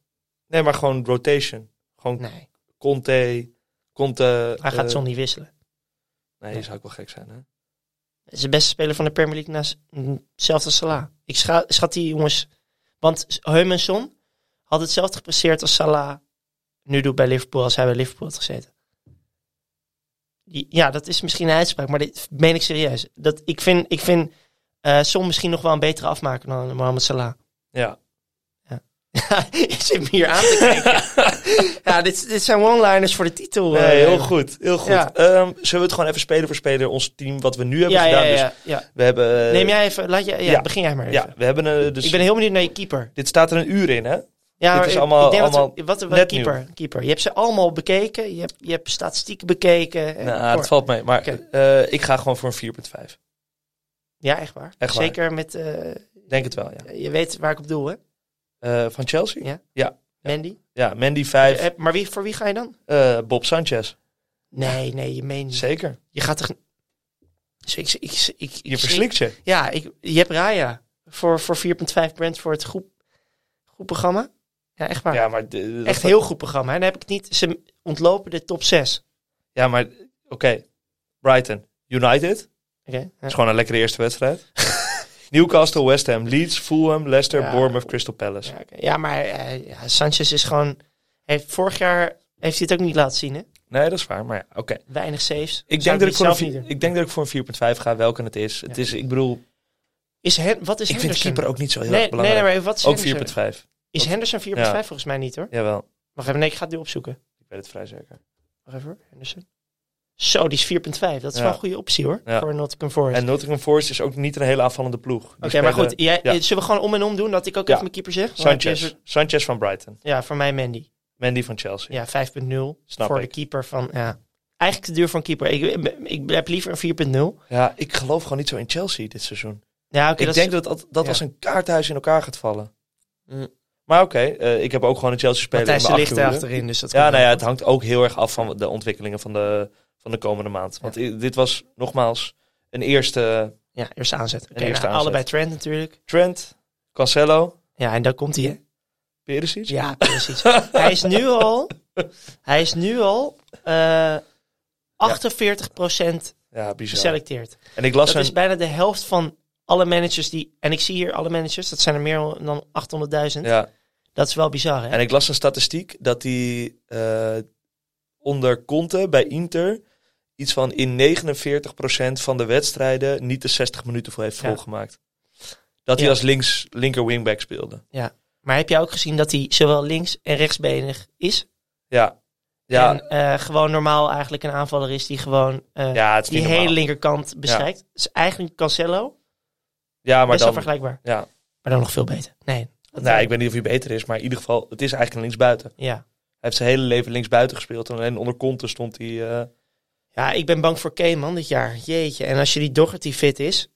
Speaker 4: Nee.
Speaker 3: maar gewoon rotation. Gewoon
Speaker 4: nee.
Speaker 3: Conte, Conte...
Speaker 4: Hij
Speaker 3: eh,
Speaker 4: gaat Son niet wisselen.
Speaker 3: Nee, dat zou ik wel gek zijn, hè?
Speaker 4: Hij is de beste speler van de Premier League naast mm, zelfs als Salah. Ik scha- schat die jongens... Want Heumenson had hetzelfde gepresteerd als Salah nu doet bij Liverpool als hij bij Liverpool had gezeten. Die- Ja, dat is misschien een uitspraak, maar dit meen ik serieus. Dat, ik vind, ik vind eh, Son misschien nog wel een betere afmaker dan Mohamed Salah. *laughs*
Speaker 3: Ja.
Speaker 4: Je zit me hier aan te
Speaker 3: *laughs*
Speaker 4: kijken. ja, dit, dit zijn one-liners voor de titel. eh.
Speaker 3: Nee, heel goed, heel goed.
Speaker 4: Ja.
Speaker 3: Ehm, zullen we het gewoon even spelen voor speler, ons team, wat we nu hebben
Speaker 4: Ja, ja,
Speaker 3: gedaan?
Speaker 4: ja,
Speaker 3: Dus
Speaker 4: ja, ja.
Speaker 3: we hebben... eh,
Speaker 4: Neem jij even, laat jij, ja,
Speaker 3: ja.
Speaker 4: begin jij maar even.
Speaker 3: Ja, we hebben eh, dus...
Speaker 4: ik ben heel benieuwd naar je keeper.
Speaker 3: Dit staat er een uur in, hè?
Speaker 4: Ja,
Speaker 3: Dit
Speaker 4: maar
Speaker 3: is
Speaker 4: ik-
Speaker 3: allemaal-
Speaker 4: ik denk dat we-
Speaker 3: allemaal
Speaker 4: wat, wat,
Speaker 3: net
Speaker 4: keeper, keeper. Je hebt ze allemaal bekeken, je hebt, je hebt statistieken bekeken. eh, en-
Speaker 3: Nou,
Speaker 4: hoor.
Speaker 3: het valt mee. Maar
Speaker 4: Oké.
Speaker 3: eh, ik ga gewoon voor een 4.5.
Speaker 4: Ja, echt waar.
Speaker 3: Echt waar.
Speaker 4: Zeker met, eh,
Speaker 3: Denk het wel, ja.
Speaker 4: je weet waar ik op doel, hè?
Speaker 3: Eh, van Chelsea?
Speaker 4: Ja. Mandy.
Speaker 3: Ja, Mandy 5,
Speaker 4: Eh, maar wie, voor wie ga je dan?
Speaker 3: eh, Bob Sanchez.
Speaker 4: Nee, nee, je meent niet.
Speaker 3: Zeker.
Speaker 4: Je gaat toch... Dus ik, ik, ik, ik,
Speaker 3: Je verslikt je.
Speaker 4: Ja, ik, je hebt Raya. Voor, voor 4.5 brand voor het groep, goed programma. Ja, echt waar.
Speaker 3: Ja, maar... de- dat-
Speaker 4: echt heel goed programma. En dan heb ik het niet... Ze ontlopen de top 6.
Speaker 3: Ja, maar... Oké. Brighton. United.
Speaker 4: Oké. ja.
Speaker 3: is gewoon een lekkere eerste *laughs* wedstrijd. Newcastle, West Ham, Leeds, Fulham, Leicester,
Speaker 4: Ja.
Speaker 3: Bournemouth, Crystal Palace.
Speaker 4: Ja, oké. Ja, maar eh, ja, Sanchez is gewoon... Heeft, vorig jaar heeft hij het ook niet laten zien, hè?
Speaker 3: Nee, dat is waar, maar ja, oké.
Speaker 4: Weinig saves.
Speaker 3: Ik,
Speaker 4: Zou
Speaker 3: denk dat ik,
Speaker 4: het
Speaker 3: voor een
Speaker 4: zelf
Speaker 3: vier-
Speaker 4: niet doen.
Speaker 3: ik denk dat ik voor een 4.5 ga, welke het is. Het is ik bedoel,
Speaker 4: Is Hen, wat is
Speaker 3: ik vind
Speaker 4: Henderson?
Speaker 3: keeper ook niet zo heel
Speaker 4: nee,
Speaker 3: erg
Speaker 4: nee, nee,
Speaker 3: belangrijk.
Speaker 4: maar wat is Henderson?
Speaker 3: ook 4.5.
Speaker 4: Is Henderson 4.5
Speaker 3: Ja.
Speaker 4: volgens mij niet, hoor.
Speaker 3: Jawel,
Speaker 4: Wacht even, nee, ik ga het nu opzoeken.
Speaker 3: ik weet het vrij zeker.
Speaker 4: Wacht even, hoor, Henderson. Zo, die is 4.5. Dat is
Speaker 3: Ja.
Speaker 4: wel een goede optie hoor.
Speaker 3: Ja.
Speaker 4: Voor Nottingham Forest.
Speaker 3: En Nottingham Forest is ook niet een hele aanvallende ploeg. Die
Speaker 4: Oké, maar
Speaker 3: spelen-
Speaker 4: goed. Jij, eh,
Speaker 3: ja.
Speaker 4: Zullen we gewoon om en om doen dat ik ook
Speaker 3: Ja.
Speaker 4: even mijn keeper zeg? Dan heb je een
Speaker 3: Sanchez.
Speaker 4: soort-
Speaker 3: Sanchez van Brighton.
Speaker 4: ja, voor mij Mandy.
Speaker 3: Mandy van Chelsea.
Speaker 4: Ja, 5.0.
Speaker 3: Snap
Speaker 4: voor
Speaker 3: ik.
Speaker 4: de keeper van... Ja. Eigenlijk te duur voor een keeper. Ik, ik heb liever een 4.0.
Speaker 3: Ja, ik geloof gewoon niet zo in Chelsea dit seizoen.
Speaker 4: Ja, oké.
Speaker 3: Ik
Speaker 4: dat
Speaker 3: denk
Speaker 4: is,
Speaker 3: dat dat, dat
Speaker 4: ja. Mm.
Speaker 3: als een kaarthuis in elkaar gaat vallen. Maar oké, eh, ik heb ook gewoon een Chelsea speler in
Speaker 4: Matthijs
Speaker 3: mijn
Speaker 4: ligt er
Speaker 3: achterhoede.
Speaker 4: achterin. Dus dat
Speaker 3: Ja,
Speaker 4: komt
Speaker 3: nou ja,
Speaker 4: wel.
Speaker 3: het hangt ook heel erg af van de ontwikkelingen van de, van de komende maand. Want i- dit was nogmaals een eerste
Speaker 4: ja, eerste aanzet. Oké,
Speaker 3: Een eerste
Speaker 4: nou,
Speaker 3: aanzet.
Speaker 4: Allebei trend natuurlijk.
Speaker 3: trend. Cancelo,
Speaker 4: Ja, en dan komt hij. hè?
Speaker 3: *laughs* Perisic.
Speaker 4: Ja, precies. hij is nu al... Hij is nu al... eh 48%
Speaker 3: Ja, bizar.
Speaker 4: geselecteerd.
Speaker 3: En ik las
Speaker 4: Dat is
Speaker 3: een...
Speaker 4: bijna de helft van alle managers die... En ik zie hier alle managers, dat zijn er meer dan 800.000.
Speaker 3: Ja,
Speaker 4: Dat is wel bizar, hè?
Speaker 3: en ik las een statistiek dat hij eh, onder Conte bij Inter iets van in 49% van de wedstrijden niet de 60 minuten voor heeft
Speaker 4: Ja.
Speaker 3: volgemaakt. Dat hij
Speaker 4: Ja.
Speaker 3: als links, linker wingback speelde.
Speaker 4: Maar heb jij ook gezien dat hij zowel links- en rechtsbenig is?
Speaker 3: Ja, ja,
Speaker 4: En eh, gewoon normaal eigenlijk een aanvaller is die gewoon eh,
Speaker 3: ja het is
Speaker 4: die
Speaker 3: niet
Speaker 4: hele
Speaker 3: normaal.
Speaker 4: linkerkant bestrijkt. Dus eigenlijk Cancelo,
Speaker 3: Ja, maar
Speaker 4: best wel
Speaker 3: dan...
Speaker 4: vergelijkbaar.
Speaker 3: Ja.
Speaker 4: Maar dan nog veel beter. Nee. Dat-
Speaker 3: Nou, ik weet niet of hij beter is, maar in ieder geval, het is eigenlijk een linksbuiten.
Speaker 4: Ja.
Speaker 3: Hij heeft zijn hele leven linksbuiten gespeeld. En alleen onder Conte stond hij... eh,
Speaker 4: ja, ik ben bang voor Kane, man, dit jaar. Jeetje. En als je die Doherty fit is...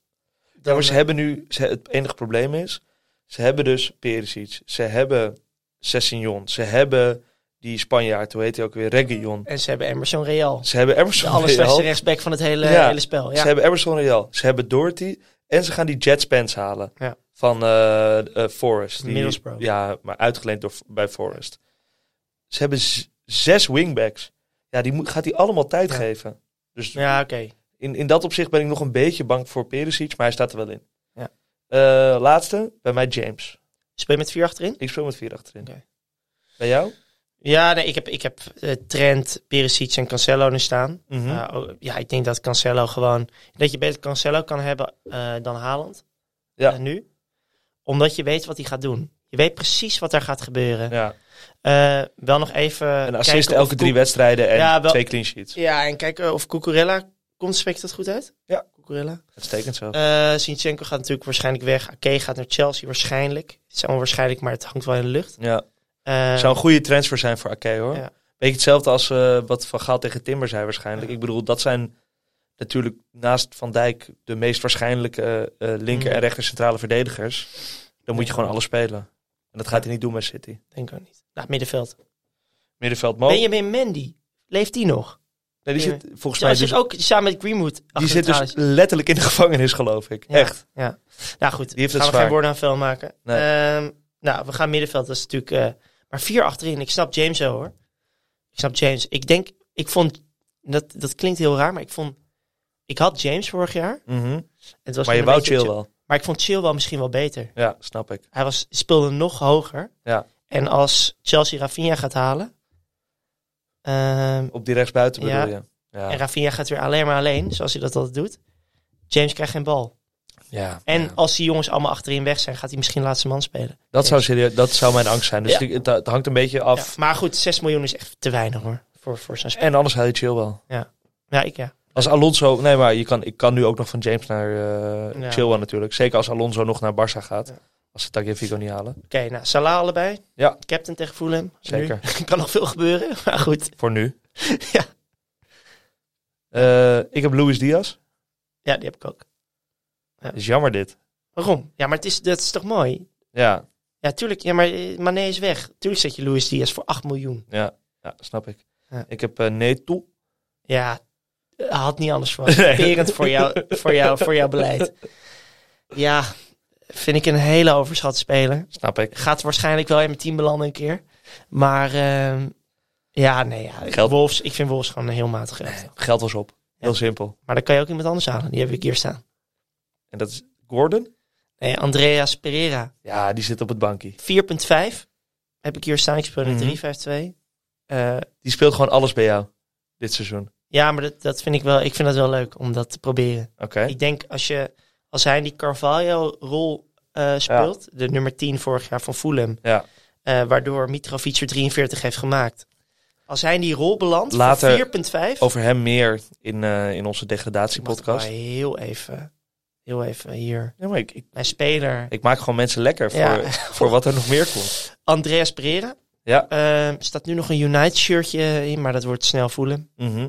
Speaker 3: Ja,
Speaker 4: Dan,
Speaker 3: maar ze hebben nu... Ze, het enige probleem is... Ze hebben dus Perisic. Ze hebben Sessignon. Ze hebben die Spanjaard. Hoe heet hij ook weer? Reguilon.
Speaker 4: en ze hebben Emerson Real.
Speaker 3: Ze hebben
Speaker 4: De
Speaker 3: Emerson Real.
Speaker 4: allerslechtste rechtsback van het hele,
Speaker 3: Ja.
Speaker 4: hele spel. Ja.
Speaker 3: Ze hebben Emerson Real. Ze hebben Doherty. En ze gaan die Jet Spence halen.
Speaker 4: Ja.
Speaker 3: Van eh eh, Forest. Die-
Speaker 4: Middlesbrough.
Speaker 3: Ja, maar uitgeleend door, bij Forest. Ze hebben z- zes wingbacks. Ja, die moet, gaat hij allemaal tijd
Speaker 4: Ja.
Speaker 3: geven. Dus
Speaker 4: Ja, oké.
Speaker 3: In, in dat opzicht ben ik nog een beetje bang voor Perisic, maar hij staat er wel in.
Speaker 4: Ja.
Speaker 3: Eh, laatste, bij mij James.
Speaker 4: Speel je met vier achterin?
Speaker 3: Ik speel met vier achterin.
Speaker 4: Oké.
Speaker 3: Bij jou?
Speaker 4: Ja, nee, ik heb, ik heb eh, Trent, Perisic en Cancelo nu staan.
Speaker 3: Mhm.
Speaker 4: Eh, oh, ja, ik denk dat Cancelo gewoon... Dat je beter Cancelo kan hebben eh, dan Haaland.
Speaker 3: Ja.
Speaker 4: Eh, nu. Omdat je weet wat hij gaat doen. Je weet precies wat er gaat gebeuren.
Speaker 3: Ja.
Speaker 4: Eh, wel nog even
Speaker 3: Een
Speaker 4: kijken
Speaker 3: assist
Speaker 4: of
Speaker 3: elke drie
Speaker 4: Koek-
Speaker 3: wedstrijden en
Speaker 4: Ja, wel-
Speaker 3: twee clean sheets.
Speaker 4: Ja, en kijken of Cucurella... Komt, spreekt dat goed uit?
Speaker 3: Ja.
Speaker 4: Cucurella.
Speaker 3: Uitstekend zo.
Speaker 4: Eh Zinchenko gaat natuurlijk waarschijnlijk weg. Ake gaat naar Chelsea waarschijnlijk. Het is allemaal waarschijnlijk, maar het hangt wel in de lucht.
Speaker 3: ja.
Speaker 4: Eh,
Speaker 3: Zou een goede transfer zijn voor Ake hoor.
Speaker 4: Ja.
Speaker 3: Beetje hetzelfde als eh, wat Van Gaal tegen Timber zei waarschijnlijk. Ik bedoel, dat zijn natuurlijk naast Van Dijk de meest waarschijnlijke eh, eh, linker-
Speaker 4: Mhm.
Speaker 3: en rechter centrale verdedigers. Dan moet je gewoon alles spelen. En dat gaat hij niet doen bij City.
Speaker 4: Denk ik ook niet. Nou, middenveld.
Speaker 3: Middenveld Mo.
Speaker 4: Benjamin Mendy, leeft die nog?
Speaker 3: Nee, die
Speaker 4: Ja.
Speaker 3: zit volgens
Speaker 4: Ja,
Speaker 3: mij
Speaker 4: ze zit
Speaker 3: dus,
Speaker 4: ook samen met Greenwood. achter
Speaker 3: die
Speaker 4: de
Speaker 3: zit dus
Speaker 4: tralies.
Speaker 3: letterlijk in de gevangenis, geloof ik.
Speaker 4: Ja.
Speaker 3: Echt.
Speaker 4: Ja. Nou goed,
Speaker 3: Die heeft
Speaker 4: gaan
Speaker 3: het
Speaker 4: we
Speaker 3: zwaar.
Speaker 4: geen woorden aan vuil maken.
Speaker 3: Nee.
Speaker 4: Ehm, nou, we gaan middenveld. Dat is natuurlijk... eh, maar vier achterin. Ik snap James wel, hoor. Ik snap James. Ik denk... Ik vond... Dat, dat klinkt heel raar, maar ik vond... Ik had James vorig jaar.
Speaker 3: Mhm.
Speaker 4: Het was
Speaker 3: Maar je
Speaker 4: toen een
Speaker 3: wou
Speaker 4: beetje
Speaker 3: chill wel.
Speaker 4: Maar ik vond Chilwell misschien wel beter.
Speaker 3: Ja, snap ik.
Speaker 4: Hij was, speelde nog hoger.
Speaker 3: Ja.
Speaker 4: En als Chelsea Rafinha gaat halen... ehm,
Speaker 3: Op die rechtsbuiten
Speaker 4: Ja.
Speaker 3: bedoel je. Ja.
Speaker 4: En
Speaker 3: Ja.
Speaker 4: Rafinha gaat weer alleen maar alleen, zoals hij dat altijd doet. James krijgt geen bal. En
Speaker 3: Ja.
Speaker 4: als die jongens allemaal achterin weg zijn, gaat hij misschien laatste man spelen.
Speaker 3: Dat zou, serieus, dat zou mijn angst zijn. Dus
Speaker 4: Ja.
Speaker 3: die- het, het hangt een beetje af.
Speaker 4: Ja, maar goed, 6 miljoen is echt te weinig hoor. Voor, voor zijn spel.
Speaker 3: En anders haal je chill wel.
Speaker 4: Ja, ik ja.
Speaker 3: Als Alonso... Nee, maar je kan, ik kan nu ook nog van James naar eh
Speaker 4: Ja.
Speaker 3: chill wel natuurlijk. Zeker als Alonso nog naar Barça gaat.
Speaker 4: Ja.
Speaker 3: Als ze Tagliafico niet halen.
Speaker 4: Oké, nou, Salah allebei.
Speaker 3: Ja.
Speaker 4: Captain tegen Fulham.
Speaker 3: Zeker.
Speaker 4: Nu *laughs* kan nog veel gebeuren, maar goed.
Speaker 3: Voor nu.
Speaker 4: *laughs* Ja.
Speaker 3: Eh, ik heb Luis Diaz.
Speaker 4: Ja, die heb ik ook.
Speaker 3: Is jammer dit.
Speaker 4: Waarom? Ja, maar het is, dat is toch mooi?
Speaker 3: Ja,
Speaker 4: Ja, tuurlijk. Ja, maar eh, Mané is weg. Tuurlijk zet je Luis Diaz voor 8 miljoen.
Speaker 3: ja, ja snap ik.
Speaker 4: Ja.
Speaker 3: Ik heb eh Neto.
Speaker 4: Ja, eh, had niet
Speaker 3: *laughs*
Speaker 4: anders verwacht.
Speaker 3: Nee.
Speaker 4: Perend voor, jou, voor, jou, voor jouw beleid. Ja, vind ik een hele overschat speler.
Speaker 3: Snap ik.
Speaker 4: Gaat waarschijnlijk wel in mijn team belanden een keer. Maar ehm, ja, nee, ja.
Speaker 3: Geld.
Speaker 4: Wolves, ik vind Wolves gewoon een heel matig elftal.
Speaker 3: Geld was op. Heel
Speaker 4: Ja.
Speaker 3: simpel.
Speaker 4: Maar dan kan je ook iemand anders halen. Die heb ik hier staan.
Speaker 3: En dat is Gordon.
Speaker 4: Nee, Andreas Pereira.
Speaker 3: Ja, die zit op het bankje.
Speaker 4: 4.5 heb ik hier staan. Ik speel in
Speaker 3: Mhm.
Speaker 4: 3-5-2. Eh,
Speaker 3: Die speelt gewoon alles bij jou. Dit seizoen.
Speaker 4: ja, maar dat, dat vind ik wel. Ik vind dat wel leuk om dat te proberen.
Speaker 3: Oké.
Speaker 4: Ik denk als, je, als hij die Carvalho-rol eh, speelt, de nummer 10 vorig jaar van Fulham,
Speaker 3: Ja.
Speaker 4: eh, waardoor Mitrovic er 43 heeft gemaakt. Als hij in die rol belandt,
Speaker 3: Later
Speaker 4: Later, 4,5.
Speaker 3: Over hem meer in, eh, in onze
Speaker 4: Wacht, ik wou
Speaker 3: degradatiepodcast.
Speaker 4: Heel even, heel even hier.
Speaker 3: Ja, maar ik, ik,
Speaker 4: Mijn speler,
Speaker 3: ik maak gewoon mensen lekker voor,
Speaker 4: Ja.
Speaker 3: *laughs* voor wat er nog meer komt.
Speaker 4: Andreas Pereira.
Speaker 3: Ja.
Speaker 4: Eh, staat nu nog een United-shirtje in, maar dat wordt snel Fulham.
Speaker 3: Mhm.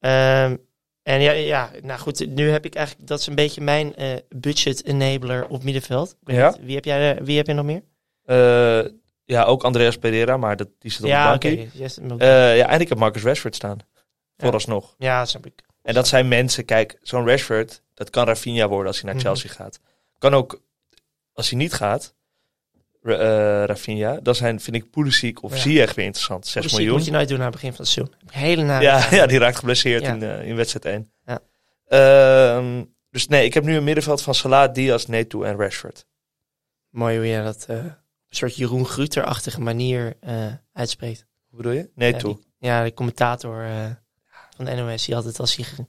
Speaker 4: Ehm, en ja, ja, nou goed, nu heb ik eigenlijk, dat is een beetje mijn eh, budget-enabler op middenveld. Ik weet
Speaker 3: Ja.
Speaker 4: niet, Wie heb, jij, eh, wie heb je nog meer?
Speaker 3: Eh, ja, ook Andreas Pereira, maar dat, die zit op
Speaker 4: ja,
Speaker 3: het bankje.
Speaker 4: Yes, oké.
Speaker 3: Eh, ja, en ik heb Marcus Rashford staan. Vooralsnog.
Speaker 4: Ja, dat snap ik.
Speaker 3: En dat zijn mensen, kijk, zo'n Rashford, dat kan Rafinha worden als hij naar
Speaker 4: Mhm.
Speaker 3: Chelsea gaat. Kan ook, als hij niet gaat, Ra- eh, Rafinha, dan zijn, vind ik Pulisic of
Speaker 4: Ja.
Speaker 3: Ziyech weer interessant. 6
Speaker 4: Precies,
Speaker 3: miljoen.
Speaker 4: moet je nooit doen aan het begin van het seizoen. Hele
Speaker 3: *laughs*
Speaker 4: nare.
Speaker 3: ja, ja, die raakt geblesseerd
Speaker 4: Ja.
Speaker 3: in, eh, in wedstrijd 1.
Speaker 4: Ja.
Speaker 3: Ehm, dus nee, ik heb nu een middenveld van Salah, Diaz, Neto en Rashford.
Speaker 4: Mooi hoe jij dat eh, op een soort Jeroen Gruter-achtige manier eh, uitspreekt.
Speaker 3: Hoe bedoel je?
Speaker 4: ja,
Speaker 3: Neto.
Speaker 4: die- ja, de commentator eh, van de NOS, die altijd als hij, ge-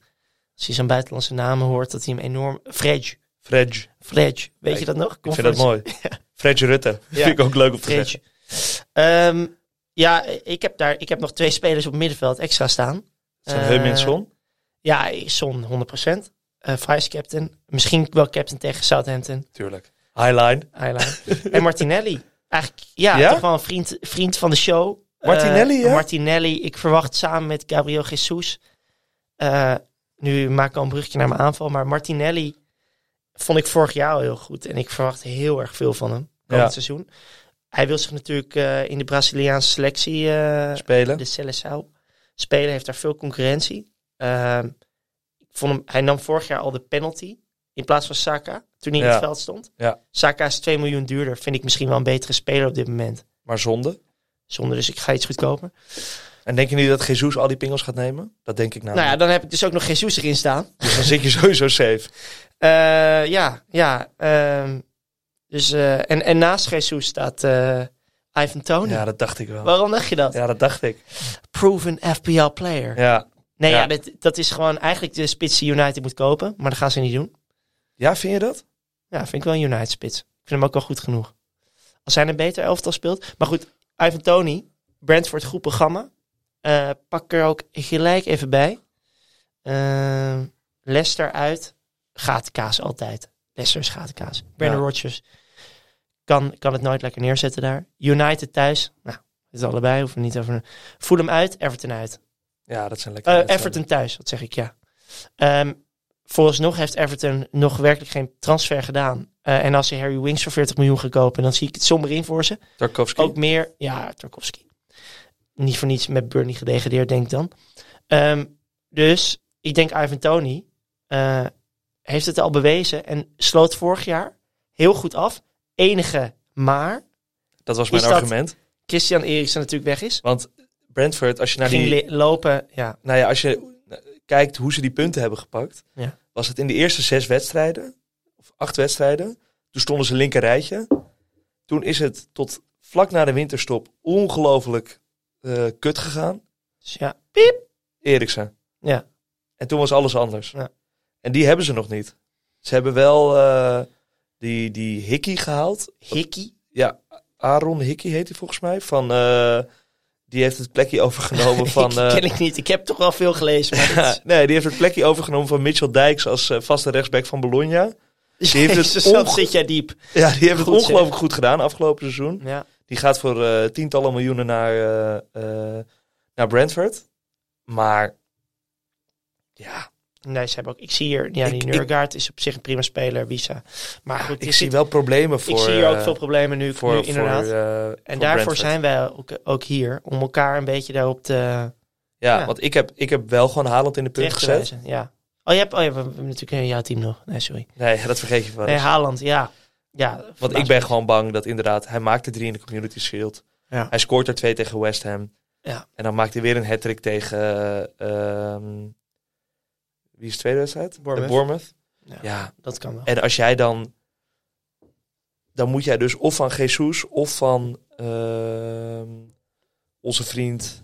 Speaker 4: als hij zo'n buitenlandse namen hoort, dat hij hem enorm... Fredge,
Speaker 3: Fredge.
Speaker 4: Fredge, weet
Speaker 3: Ja,
Speaker 4: je dat nog?
Speaker 3: Ik vind dat
Speaker 4: *laughs*
Speaker 3: mooi. Fredge Rutte.
Speaker 4: Ja.
Speaker 3: Vind ik ook leuk om te zeggen.
Speaker 4: Fredge. Ehm, ja, ik heb, daar, ik heb nog twee spelers op middenveld extra staan.
Speaker 3: Zijn
Speaker 4: Eh,
Speaker 3: Heuminson.
Speaker 4: Ja, Son 100%. Eh vice captain. Misschien wel captain tegen Southampton.
Speaker 3: Tuurlijk. Highline.
Speaker 4: Highline. en Martinelli. Eigenlijk, ja,
Speaker 3: Ja?
Speaker 4: toch wel een vriend, vriend van de show.
Speaker 3: Martinelli,
Speaker 4: Eh,
Speaker 3: ja?
Speaker 4: Martinelli. Ik verwacht samen met Gabriel Jesus. eh, nu maak ik al een brugje naar mijn aanval. Maar Martinelli vond ik vorig jaar al heel goed. En ik verwacht heel erg veel van hem. Komend
Speaker 3: Ja.
Speaker 4: seizoen. Hij wil zich natuurlijk eh, in de Braziliaanse selectie, eh,
Speaker 3: Spelen.
Speaker 4: de Seleção, spelen. Heeft daar veel concurrentie. Ehm, ik vond hem, hij nam vorig jaar al de penalty. In plaats van Saka. Toen hij in
Speaker 3: Ja.
Speaker 4: het veld stond.
Speaker 3: Ja.
Speaker 4: Saka is 2 miljoen duurder. Vind ik misschien wel een betere speler op dit moment.
Speaker 3: Maar zonde.
Speaker 4: Zonder dus ik ga iets goedkoper.
Speaker 3: En denk je niet dat Jesus al die pingels gaat nemen? Dat denk ik nou.
Speaker 4: Nou ja,
Speaker 3: niet.
Speaker 4: dan heb ik dus ook nog Jesus erin staan.
Speaker 3: Dus dan zit
Speaker 4: *laughs*
Speaker 3: je sowieso safe.
Speaker 4: Eh, ja, ja. ehm, dus, eh, en, en naast Jesus staat eh, Ivan Tony.
Speaker 3: Ja, dat dacht ik wel.
Speaker 4: Waarom dacht je dat?
Speaker 3: Ja, dat dacht ik.
Speaker 4: Proven FPL player.
Speaker 3: Ja,
Speaker 4: Nee, ja.
Speaker 3: Ja.
Speaker 4: dat, dat is gewoon eigenlijk de spits die United moet kopen. Maar dat gaan ze niet doen.
Speaker 3: ja vind je dat?
Speaker 4: Ja, vind ik wel een United spits. Ik vind hem ook wel goed genoeg. Als hij een beter elftal speelt. Maar goed, Ivan Tony, Brentford goed programma. Eh, pak er ook gelijk even bij. Ehm Leicester uit. Gatenkaas altijd. Leicester is gatenkaas. Brandon
Speaker 3: Ja.
Speaker 4: Rodgers kan, kan het nooit lekker neerzetten daar. United thuis. Nou, het is allebei. Hoeven we niet over... Fulham uit, Everton uit.
Speaker 3: Ja, dat zijn lekker.
Speaker 4: Eh,
Speaker 3: wedstrijden.
Speaker 4: Everton thuis, wat zeg ik, ja. Ehm vooralsnog heeft Everton nog werkelijk geen transfer gedaan. Eh, en als ze Harry Winks voor 40 miljoen gaan kopen, dan zie ik het somber in voor ze.
Speaker 3: Tarkovsky.
Speaker 4: Ook meer, ja, Tarkovsky. Niet voor niets met Burnley gedegradeerd, denk ik dan. Ehm, Dus ik denk Ivan Tony eh, heeft het al bewezen en sloot vorig jaar heel goed af. Enige maar
Speaker 3: Dat was mijn
Speaker 4: Is dat-
Speaker 3: argument.
Speaker 4: Christian Eriksen natuurlijk weg is.
Speaker 3: Want Brentford, als je naar
Speaker 4: ging
Speaker 3: Nou, die,
Speaker 4: li- lopen, ja.
Speaker 3: nou ja, als je eh, kijkt hoe ze die punten hebben gepakt,
Speaker 4: Ja.
Speaker 3: was het in de eerste zes wedstrijden, of acht wedstrijden, toen stonden ze linker rijtje. Toen is het tot vlak na de winterstop ongelooflijk eh, kut gegaan.
Speaker 4: Dus ja,
Speaker 3: Eriksen.
Speaker 4: Ja.
Speaker 3: En toen was alles anders.
Speaker 4: Ja.
Speaker 3: En die hebben ze nog niet. Ze hebben wel eh, die, die Hickey gehaald.
Speaker 4: Hickey.
Speaker 3: Ja, Aaron Hickey heet hij volgens mij. Van, eh, die heeft het plekje overgenomen van...
Speaker 4: *laughs* ik,
Speaker 3: eh,
Speaker 4: ken ik niet. Ik heb toch wel veel gelezen. *laughs* Maar
Speaker 3: Ja, nee, die heeft het plekje overgenomen van Mitchell Dijks als eh, vaste rechtsback van Bologna.
Speaker 4: dit,
Speaker 3: die heeft het
Speaker 4: *laughs* Jezus, dat
Speaker 3: onge-
Speaker 4: zit jij diep.
Speaker 3: Ja, die heeft het
Speaker 4: Goed, zeg.
Speaker 3: ongelooflijk goed gedaan afgelopen seizoen.
Speaker 4: Ja.
Speaker 3: Die gaat voor eh, tientallen miljoenen naar, eh, eh, naar Brentford. Maar ja,
Speaker 4: Nee, ze hebben ook, ik zie hier, ja,
Speaker 3: Ik-
Speaker 4: die
Speaker 3: ik- Ah,
Speaker 4: Nurgaard is op zich een prima speler, Wisa. Maar goed,
Speaker 3: ik
Speaker 4: dit
Speaker 3: zie
Speaker 4: zit-
Speaker 3: wel problemen voor...
Speaker 4: ik zie hier ook
Speaker 3: eh,
Speaker 4: veel problemen nu,
Speaker 3: voor,
Speaker 4: nu
Speaker 3: voor,
Speaker 4: inderdaad.
Speaker 3: eh, voor
Speaker 4: en daarvoor
Speaker 3: Brentford.
Speaker 4: zijn wij ook, ook hier, om elkaar een beetje daarop te,
Speaker 3: Ja,
Speaker 4: ja.
Speaker 3: want ik heb, ik heb wel gewoon Haaland in de punt
Speaker 4: terecht te
Speaker 3: gezet.
Speaker 4: wijzen. Ja. Oh, je hebt, oh, je hebt we hebben natuurlijk een jouw team nog. Nee, sorry.
Speaker 3: Nee, dat vergeet je wel
Speaker 4: Nee,
Speaker 3: eens.
Speaker 4: Haaland, ja. ja
Speaker 3: Want
Speaker 4: verbaas
Speaker 3: ik
Speaker 4: me.
Speaker 3: ben gewoon bang dat inderdaad... Hij maakte drie in de Community Shield.
Speaker 4: Ja.
Speaker 3: Hij scoort er twee tegen West Ham.
Speaker 4: Ja.
Speaker 3: En dan maakt hij weer een hat-trick tegen... eh, ehm, wie is de tweede wedstrijd?
Speaker 4: Bournemouth.
Speaker 3: Eh, Bournemouth.
Speaker 4: Ja.
Speaker 3: Ja.
Speaker 4: Dat kan wel.
Speaker 3: En als jij dan... Dan moet jij dus of van Jesus of van ehm, onze vriend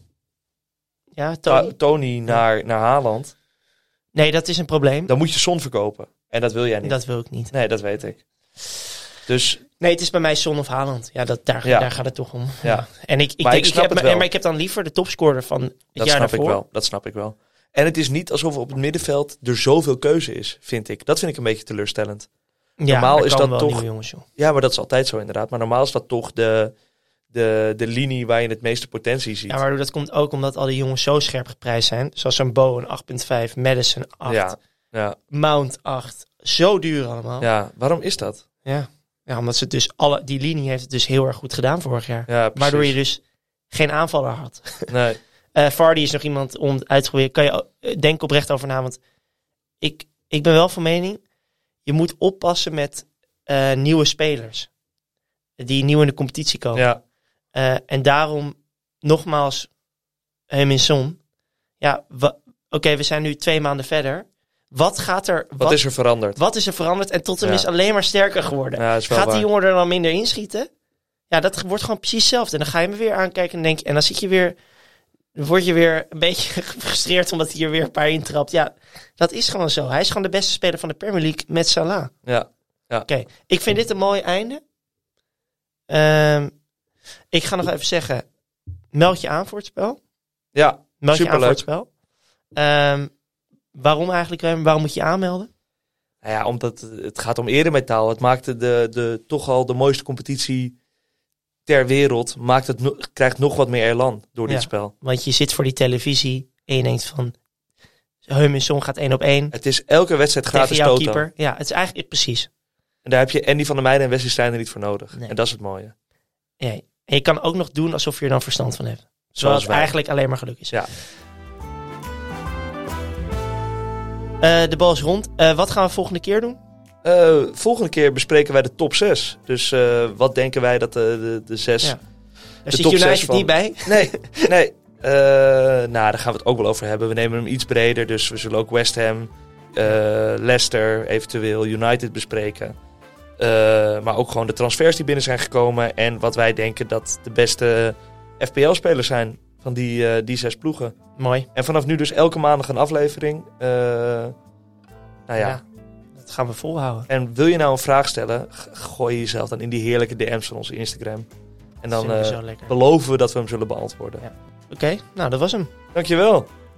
Speaker 4: Ja,
Speaker 3: Ta-
Speaker 4: Tony.
Speaker 3: Tony naar, naar Haaland.
Speaker 4: Nee, dat is een probleem.
Speaker 3: Dan moet je Son verkopen. En dat wil jij niet.
Speaker 4: Dat wil ik niet.
Speaker 3: Nee, dat weet ik. Dus
Speaker 4: Nee, het is bij mij Son of Haaland. Ja, dat, daar,
Speaker 3: Ja.
Speaker 4: daar gaat het toch om.
Speaker 3: ja,
Speaker 4: En ik, ik,
Speaker 3: Maar
Speaker 4: denk,
Speaker 3: ik
Speaker 4: ik
Speaker 3: snap
Speaker 4: heb,
Speaker 3: het
Speaker 4: maar,
Speaker 3: wel.
Speaker 4: maar ik heb dan liever de topscorer van het
Speaker 3: dat
Speaker 4: jaar
Speaker 3: snap ik
Speaker 4: daarvoor.
Speaker 3: wel. Dat snap ik wel. En het is niet alsof op het middenveld er zoveel keuze is, vind ik. Dat vind ik een beetje teleurstellend.
Speaker 4: Ja,
Speaker 3: Normaal
Speaker 4: daar
Speaker 3: is
Speaker 4: komen
Speaker 3: dat toch-
Speaker 4: wel nieuwe jongens, joh.
Speaker 3: Ja, maar dat is altijd zo inderdaad. Maar normaal is dat toch de, de, de linie waar je het meeste potentie ziet.
Speaker 4: Ja, maar dat komt ook omdat al die jongens zo scherp geprijsd zijn. Zoals een Bo een 8.5, Madison 8,
Speaker 3: ja, ja,
Speaker 4: Mount 8. Zo duur allemaal. Ja.
Speaker 3: ja. waarom is dat?
Speaker 4: Ja. omdat ze het dus alle, die linie heeft het dus heel erg goed gedaan vorig jaar.
Speaker 3: Ja, precies.
Speaker 4: Waardoor je dus geen aanvaller had.
Speaker 3: Nee,
Speaker 4: *laughs* Eh Vardy is nog iemand om uit te proberen. Kan je eh, denk oprecht over na. Want ik, ik ben wel van mening. Je moet oppassen met eh, nieuwe spelers. Die nieuw in de competitie komen.
Speaker 3: ja,
Speaker 4: Eh, en daarom nogmaals hem in som. Ja, wa- oké, we zijn nu twee maanden verder. Wat gaat er... Wat,
Speaker 3: wat, is er veranderd?
Speaker 4: wat is er veranderd? En Tottenham
Speaker 3: Ja.
Speaker 4: is alleen maar sterker geworden.
Speaker 3: Ja, is wel
Speaker 4: gaat die
Speaker 3: waar.
Speaker 4: jongen er dan minder inschieten? Ja, dat wordt gewoon precies hetzelfde. En dan ga je me weer aankijken en denk... En dan zit je weer... Dan word je weer een beetje *laughs* gefrustreerd omdat hij er weer een paar intrapt. Ja, dat is gewoon zo. Hij is gewoon de beste speler van de Premier League met Salah.
Speaker 3: Ja,
Speaker 4: Oké, ik vind dit een mooi einde. Ehm, ik ga nog even zeggen, meld je aan voor het spel.
Speaker 3: ja,
Speaker 4: Meld je aan
Speaker 3: Superleuk.
Speaker 4: voor het spel. Ehm, waarom eigenlijk, Ruim? Waarom moet je je aanmelden?
Speaker 3: nou ja omdat het- het gaat om eremetaal. Het maakte de, de, toch al de mooiste competitie ter wereld. Maakt het no- krijgt nog wat meer elan door
Speaker 4: Ja.
Speaker 3: dit spel.
Speaker 4: Want je zit voor die televisie en je denkt van... Heum en Son gaat één op één
Speaker 3: Het is elke wedstrijd
Speaker 4: tegen
Speaker 3: gratis
Speaker 4: jouw
Speaker 3: toto.
Speaker 4: keeper. Ja, het is eigenlijk precies.
Speaker 3: En daar heb je Andy van der Meijden en Wesley Steiner niet voor nodig.
Speaker 4: Nee.
Speaker 3: En dat is het mooie.
Speaker 4: Ja. En je kan ook nog doen alsof je er dan verstand van hebt. Zoals
Speaker 3: Zoals
Speaker 4: het
Speaker 3: wij.
Speaker 4: eigenlijk alleen maar geluk is.
Speaker 3: Ja.
Speaker 4: Eh, de bal is rond. Eh, wat gaan we volgende keer doen?
Speaker 3: Eh, volgende keer bespreken wij de top 6. Dus eh, wat denken wij dat de, de, de zes...
Speaker 4: Ja. Daar
Speaker 3: De
Speaker 4: zit
Speaker 3: top zes
Speaker 4: United
Speaker 3: van-
Speaker 4: niet bij.
Speaker 3: Nee, nee. Eh, nou, daar gaan we het ook wel over hebben. We nemen hem iets breder, dus we zullen ook West Ham, eh, Leicester, eventueel United bespreken. Eh, maar ook gewoon de transfers die binnen zijn gekomen en wat wij denken dat de beste FPL-spelers zijn van die, eh, die zes ploegen.
Speaker 4: Mooi.
Speaker 3: En vanaf nu dus elke maandag een aflevering. Eh, nou ja.
Speaker 4: Ja. Dat gaan we volhouden.
Speaker 3: En wil je nou een vraag stellen, g- gooi jezelf dan in die heerlijke DM's van onze Instagram. En
Speaker 4: Dat
Speaker 3: dan
Speaker 4: vinden we
Speaker 3: eh,
Speaker 4: zo lekker. Oké,
Speaker 3: beloven we dat we hem zullen beantwoorden.
Speaker 4: nou dat was hem.
Speaker 3: Dankjewel.